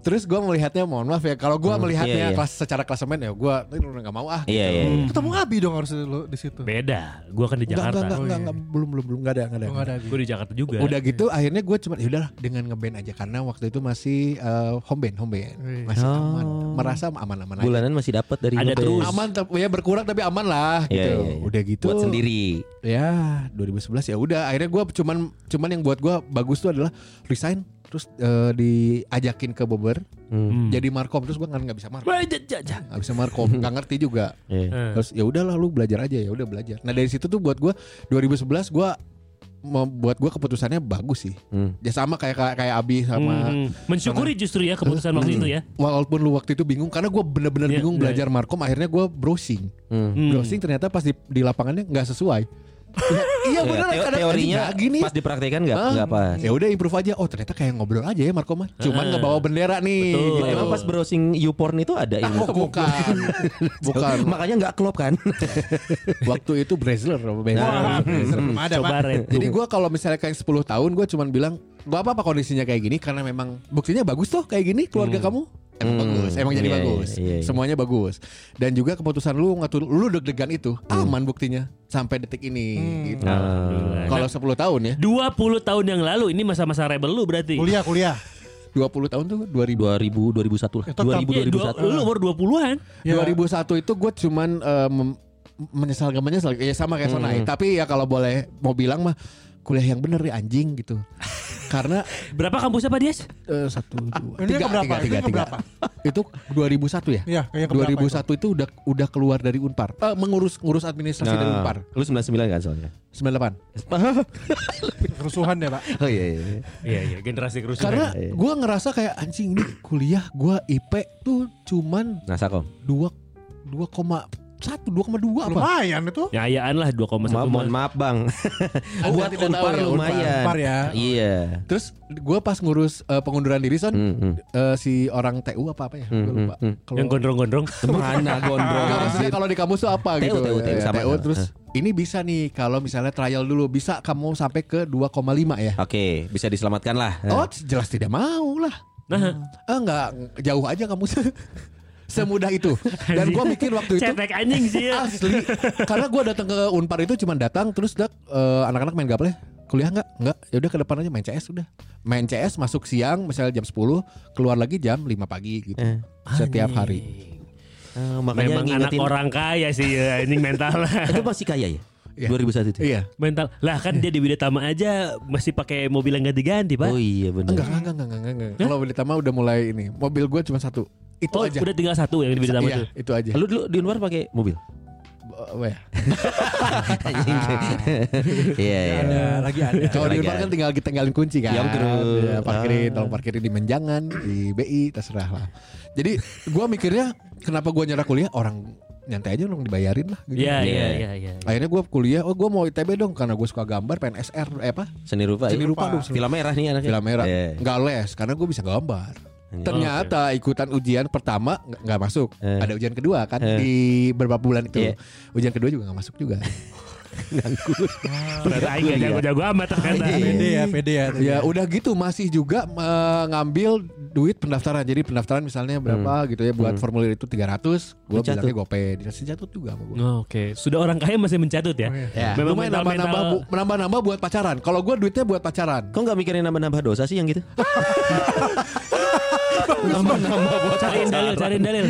Terus gua melihatnya mohon maaf ya, kalau gua Hmm, iya, melihatnya iya. kelas secara klasemen ya gua ini udah enggak mau ah. Iya, iya. iya. Ketemu Abi dong harus lo di situ. beda gua kan di Oh, Enggak, enggak, enggak, Jakarta enggak, enggak, iya. belum belum belum enggak ada, enggak ada. Oh, nggak ada Abi. gua di Jakarta juga Udah gitu akhirnya gue cuma ya udahlah dengan ngeband aja karena waktu itu masih eh, home band, home band. Wih. Masih Oh. aman, merasa aman-aman aja. Bulanan masih dapat dari Ada ngeband. terus. Aman tapi ya berkurang tapi aman lah Iya, gitu. iya, iya. Udah gitu. Buat sendiri. ya 2011 ya udah akhirnya gua cuman cuman yang buat gua bagus tuh adalah resign terus eh, diajakin ke Bobber Hmm. jadi markom terus gua kan nggak bisa markom Wah, ja- ja- ja. nggak bisa markom nggak ngerti juga Iya. Eh, terus ya udahlah lu belajar aja ya udah belajar nah dari situ tuh buat gua 2011 gua membuat gua keputusannya bagus sih Hmm. ya sama kayak kayak, kayak Abi sama hmm. mensyukuri justru ya keputusan waktu itu ya walaupun lu waktu itu bingung karena gua bener-bener Iya, bingung iya, belajar markom akhirnya gua browsing Hmm. Hmm. browsing ternyata pas di, di lapangannya nggak sesuai Ya, iya Iya, bener teo- kadang- teorinya kadang gini pas dipraktekkan nggak Ah, nggak pas. Ya udah improve aja. Oh ternyata kayak ngobrol aja ya Marco mah. Cuman nggak bawa bendera nih. Betul. gitu. Emang pas browsing YouPorn itu ada ilmu. Oh, bukan. bukan. Makanya nggak klop kan? Waktu itu Brazler Nah, Wah, serem ada Hmm. coba Pak. red Jadi gua kalau misalnya kayak 10 tahun gua cuman bilang gak apa-apa kondisinya kayak gini karena memang buktinya bagus tuh kayak gini keluarga kamu. Emang Hmm. bagus, emang jadi Iya, iya, bagus. iya, iya. Semuanya bagus. Dan juga keputusan lu ngatur lu deg-degan itu Hmm. aman buktinya sampai detik ini Hmm. gitu. Nah, Nah. Alhamdulillah. Kalau 10 tahun ya, 20 kan tahun yang lalu ini masa-masa rebel lu berarti. Kuliah, kuliah. 20 tahun tuh 2000 2000 2001 lah. tetap. 2000 dua- 2001. Lu umur 20-an. Ya. 2001 itu gue cuman eh, mem- menyesal gak menyesal ya sama kayak Hmm. Sonai tapi ya kalau boleh mau bilang mah kuliah yang bener ya anjing gitu karena Berapa kampusnya Pak Dias? eh, satu dua Ini yang tiga keberapa? tiga Ini tiga yang tiga keberapa? itu 2001 ya Iya, kayak keberapa 2001 itu? udah udah keluar dari Unpar Eh, mengurus ngurus administrasi dari Nah, Unpar lu 99 kan soalnya. 98 Kerusuhan ya Pak. Oh iya iya. Iya iya, generasi kerusuhan. karena gue ngerasa kayak anjing ini kuliah gue IP tuh cuman Nah, Sakom. dua dua koma satu dua koma dua apa Lumayan itu. Nyayaan Ya, lah 2,1 Maaf, mohon mah. maaf Bang. Buat Unpar tidak tahu ya, Unpar. lumayan. Unpar ya. Iya. Terus gue pas ngurus eh, pengunduran diri son Hmm, hmm. eh, si orang TU apa apa ya? Gue lupa. hmm, hmm. Kalau Yang gondrong-gondrong. Mana gondrong Nggak, maksudnya anjir. kalau di kampus tuh apa TU, gitu? TU, Ya, sama, sama. terus ini bisa nih kalau misalnya trial dulu bisa kamu sampai ke 2,5 ya. Oke, bisa diselamatkan lah. Oh, jelas tidak mau lah. Nah, Eh enggak jauh aja kamu semudah itu. Dan gue mikir waktu itu Ah, cetek anjing sih. ya. asli karena gue datang ke Unpar itu cuma datang terus dak eh, anak-anak main gaple kuliah nggak nggak ya udah ke depan aja main CS udah main CS masuk siang misalnya jam 10 keluar lagi jam 5 pagi gitu Eh. setiap hari Eh, makanya Memang anak ngingetin- orang kaya sih ya, ini mental. itu masih kaya ya? Iya. 2001 itu. iya mental. Lah kan dia di Widatama aja masih pakai mobil yang ganti-ganti, Pak. Oh iya benar. enggak enggak enggak enggak enggak, enggak. kalau di Tama udah mulai ini mobil gue cuma satu itu Oh, aja udah tinggal satu yang di Widatama Iya, tuh. itu aja Eh, Lu dulu di luar pakai mobil. Eh, weh. Iya iya. Ada, lagi ada. Kalau di rumah kan tinggal kita tinggalin kunci kan. Iya, betul. Iya, parkirin, Ah. tolong parkirin di Menjangan, di BI, terserah lah. Jadi gua mikirnya kenapa gua nyerah kuliah orang nyantai aja dong dibayarin lah. gitu. Iya, iya, Iya. iya, iya. Akhirnya gua kuliah, oh gua mau ITB dong karena gua suka gambar, pengen SR, eh apa? Seni rupa. Seni ya? rupa dong. Film merah nih anaknya. Film merah. Iya. Nggak les karena gua bisa gambar. Oh, Ternyata ikutan ujian pertama nggak- nggak masuk. Eh. Ada ujian kedua kan Eh. di beberapa bulan Iya. itu. Ujian kedua juga nggak masuk juga. Ternyata aing gak jago-jago amat ternyata. iya. Iya. Pede ya, pede ya. Ya udah gitu masih juga eh, ngambil duit pendaftaran. Jadi pendaftaran Hmm. misalnya berapa gitu ya buat formulir itu 300, gua Dicatut. bilangnya GoPay. Dikasih jatut juga sama gua. Oh, Oke, sudah orang kaya masih mencatut ya. Ya, Memang mental- lumayan nambah-nambah mental- bu- nambah-nambah buat pacaran. Kalau gua duitnya buat pacaran. Kok nggak mikirin nambah-nambah dosa sih yang gitu? Nambah buat cariin dalil, cariin dalil.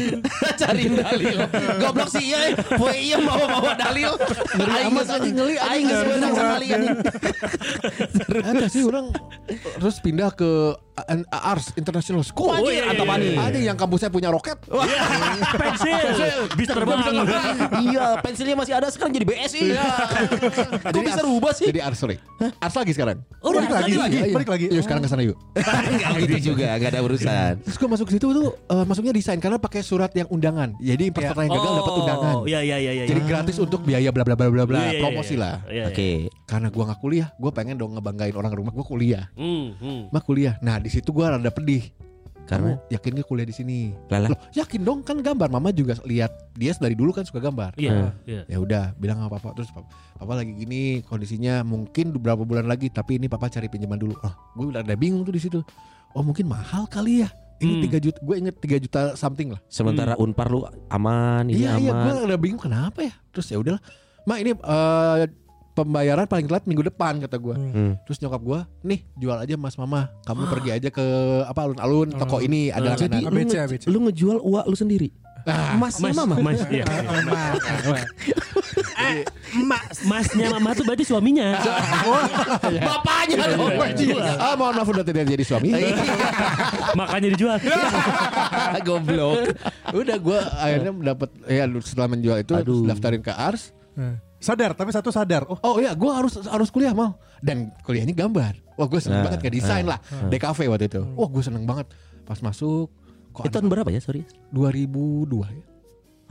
Cariin dalil. Goblok sih iya. Poe iya bawa-bawa dalil. Ngeri amat anjing ngeli aing geus menang sama Ali anjing. Ada sih orang terus pindah ke A- A- Ars International School. Oh, iya, iya, Atau iya, iya. Ada yang kampusnya punya roket. Iya. Pensil, bisa terbang. Iya, pensilnya masih ada sekarang jadi BSI. iya. Iya. Kok Jadi bisa Ars- rubah sih? Jadi Ars sorry. Ars lagi sekarang. Oh, udah Balik lagi, tadi Iya. lagi, balik lagi. Oh, Yuk sekarang ke sana yuk. Enggak gitu juga, enggak ada urusan. Iya, Terus gue masuk ke situ tuh eh, masuknya desain karena pakai surat yang undangan. Jadi peserta yang gagal dapat undangan. Iya, iya, iya, iya. Jadi gratis untuk biaya bla bla bla bla bla Iya, iya, promosi iya. lah. Iya, iya. Oke. Karena gua nggak kuliah, gua pengen dong ngebanggain orang rumah gua kuliah. Hmm, hmm. Mah kuliah. Nah, di situ gua rada pedih. Karena? Kamu yakin gak kuliah di sini? Iya. Lala. Loh, yakin dong kan gambar. Mama juga lihat dia dari dulu kan suka gambar. Iya, iya. Ya udah, bilang sama papa terus papa, papa lagi gini kondisinya mungkin beberapa bulan lagi tapi ini papa cari pinjaman dulu. Oh, gue udah bingung tuh di situ. Oh, mungkin mahal kali ya. Hmm. Ini 3 juta, gue inget 3 juta something lah. Sementara Unpar lu aman, ini iya iya gue aman. udah bingung kenapa ya terus ya udahlah mak ini eh, pembayaran paling telat minggu depan kata gue Hmm. terus nyokap gue nih jual aja mas mama kamu pergi aja ke apa alun-alun toko ini Oh. ada Jadi langganan lu, ABC, nge- ABC. Iya. lu ngejual uak lu sendiri. Ah. Masnya mama. Mas, iya. Ah, Emak, masnya mama tuh berarti suaminya. Iya. Bapaknya dong. iya. ah mohon maaf udah tidak jadi suami Makanya dijual. Iya. Goblok. udah gue akhirnya dapat ya setelah menjual itu terus Aduh. daftarin ke ars Eh. Sadar, tapi satu sadar. Oh, Oh iya, gue harus harus kuliah mal dan kuliahnya gambar. Wah gue Nah, seneng Hmm. banget ke desain lah, DKV waktu itu. Wah gue seneng banget pas masuk. Kok Itu ada- tahun berapa ya, sorry? 2002 ya?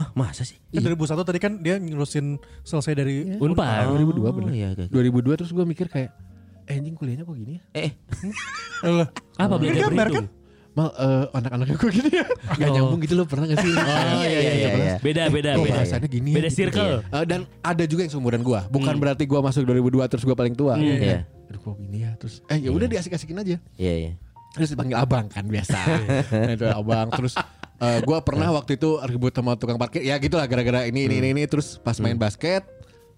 Hah, Ah, masa sih? Iya. kan 2001 tadi kan dia ngurusin selesai dari Unpar. Oh, 2002 bener. iya, oke, oke. 2002 terus gue mikir kayak eh, anjing kuliahnya kok gini ya? Eh, Alah. Apa Ini Iya, belajar gambar kan? berhitung? Mal eh, anak-anaknya kok gini ya? Gak Oh. nyambung gitu loh pernah gak sih? oh iya, iya, iya, iya. Beda, beda, Kok beda. bahasanya gini ya? Beda gitu. circle. Eh, dan ada juga yang seumuran gue. Bukan berarti gue masuk 2002 terus gue paling tua. Hmm. Iya. Aduh kok gini ya? Terus eh ya udah diasik-asikin aja. Iya, iya. Terus dipanggil abang kan biasa. Nah, itu abang terus eh, gue pernah waktu itu ribut sama tukang parkir ya gitulah gara-gara ini ini Hmm. ini, ini terus pas main basket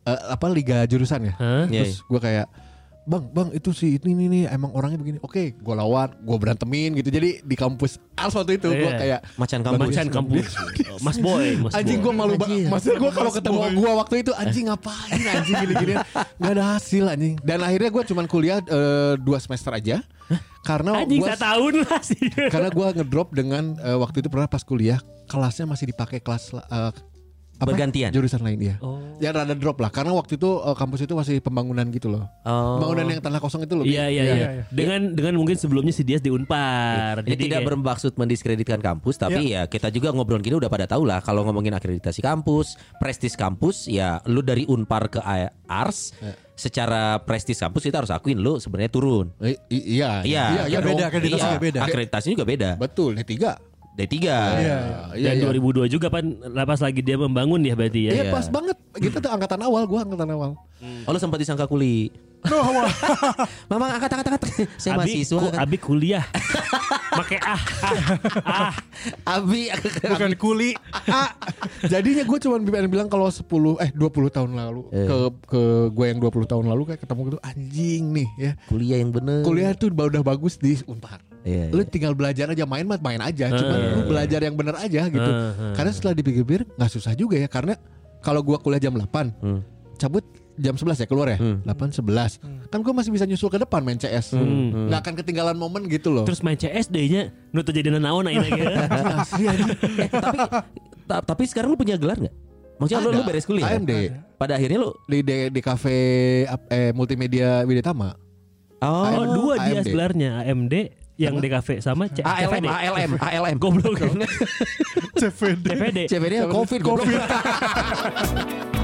eh, apa liga jurusan ya Hah? Iya, terus gue kayak bang bang itu si ini ini ini emang orangnya begini oke gue lawan gue berantemin gitu jadi di kampus ars waktu itu gue Iya. kayak Macan kampus. Macan kampus. Oh, Mas Boy, Mas anjing Boy. gue malu banget maksudnya gue kalau ketemu gue waktu itu anjing ngapain anjing gini-gini nggak ada hasil anjing dan akhirnya gue cuman kuliah eh, dua semester aja karena Anjing gua- satu tahun lah sih. karena gue ngedrop dengan eh, waktu itu pernah pas kuliah kelasnya masih dipakai kelas eh, apa? Bergantian. jurusan lain ya Oh. ya rada drop lah karena waktu itu eh, kampus itu masih pembangunan gitu loh Oh. pembangunan yang tanah kosong itu loh Iya, iya, iya. Iya, iya. Dengan dengan mungkin sebelumnya si Dias di Unpar. Ini Iya. tidak kayak- bermaksud mendiskreditkan kampus, tapi ya kita juga ngobrol gini udah pada tahu lah kalau ngomongin akreditasi kampus, prestis kampus, ya lu dari Unpar ke A- Ars, secara prestis kampus kita harus akuin lu sebenarnya turun. Eh, i- iya Iya, iya beda, dong. akreditasinya ya. beda. Akreditasinya juga beda. betul D3 D3. iya Eh, Dan 2002 juga pan lapas lagi dia membangun ya berarti ya. Gitu Iya pas banget Kita tuh angkatan awal Gue angkatan awal Oh lu sempat disangka kuli. Loh, wah. Mamang angkat angkat angkat. Saya Abi, mahasiswa. kan. ku- angkat. Abi kuliah. Pakai ah, ah, ah. Abi. bukan kuli. Jadinya gue cuma pengen bilang kalau 10 eh 20 tahun lalu Eh. ke ke gue yang 20 tahun lalu kayak ketemu gitu anjing nih ya. Kuliah yang bener. Kuliah tuh ba- udah bagus di Unpar. Hmm. Iya. Hmm. Lu tinggal belajar aja main mah main aja, cuman Eh. lu belajar yang bener aja gitu. Eh, eh. Karena setelah dipikir-pikir nggak susah juga ya karena kalau gua kuliah jam 8 Hmm. cabut jam 11 ya keluar ya. Hmm. 8 11. Kan gua masih bisa nyusul ke depan main CS. Hmm. Nggak akan ketinggalan momen gitu loh. Terus main CS nya nu jadi naon ayeuna ge. asli aja. Eh, tapi ta- tapi sekarang lu punya gelar nggak? Maksudnya lu, lu Ada. beres kuliah. AMD. Pada akhirnya lu di di, di kafe ap- eh, multimedia Widetama. Oh, AMD. dua dia AMD. gelarnya AMD yang DKV sama C ALM, CVD. ALM, ALM. Goblok. CVD. CVD. Iya, Iya, CVD COVID, COVID. Covid.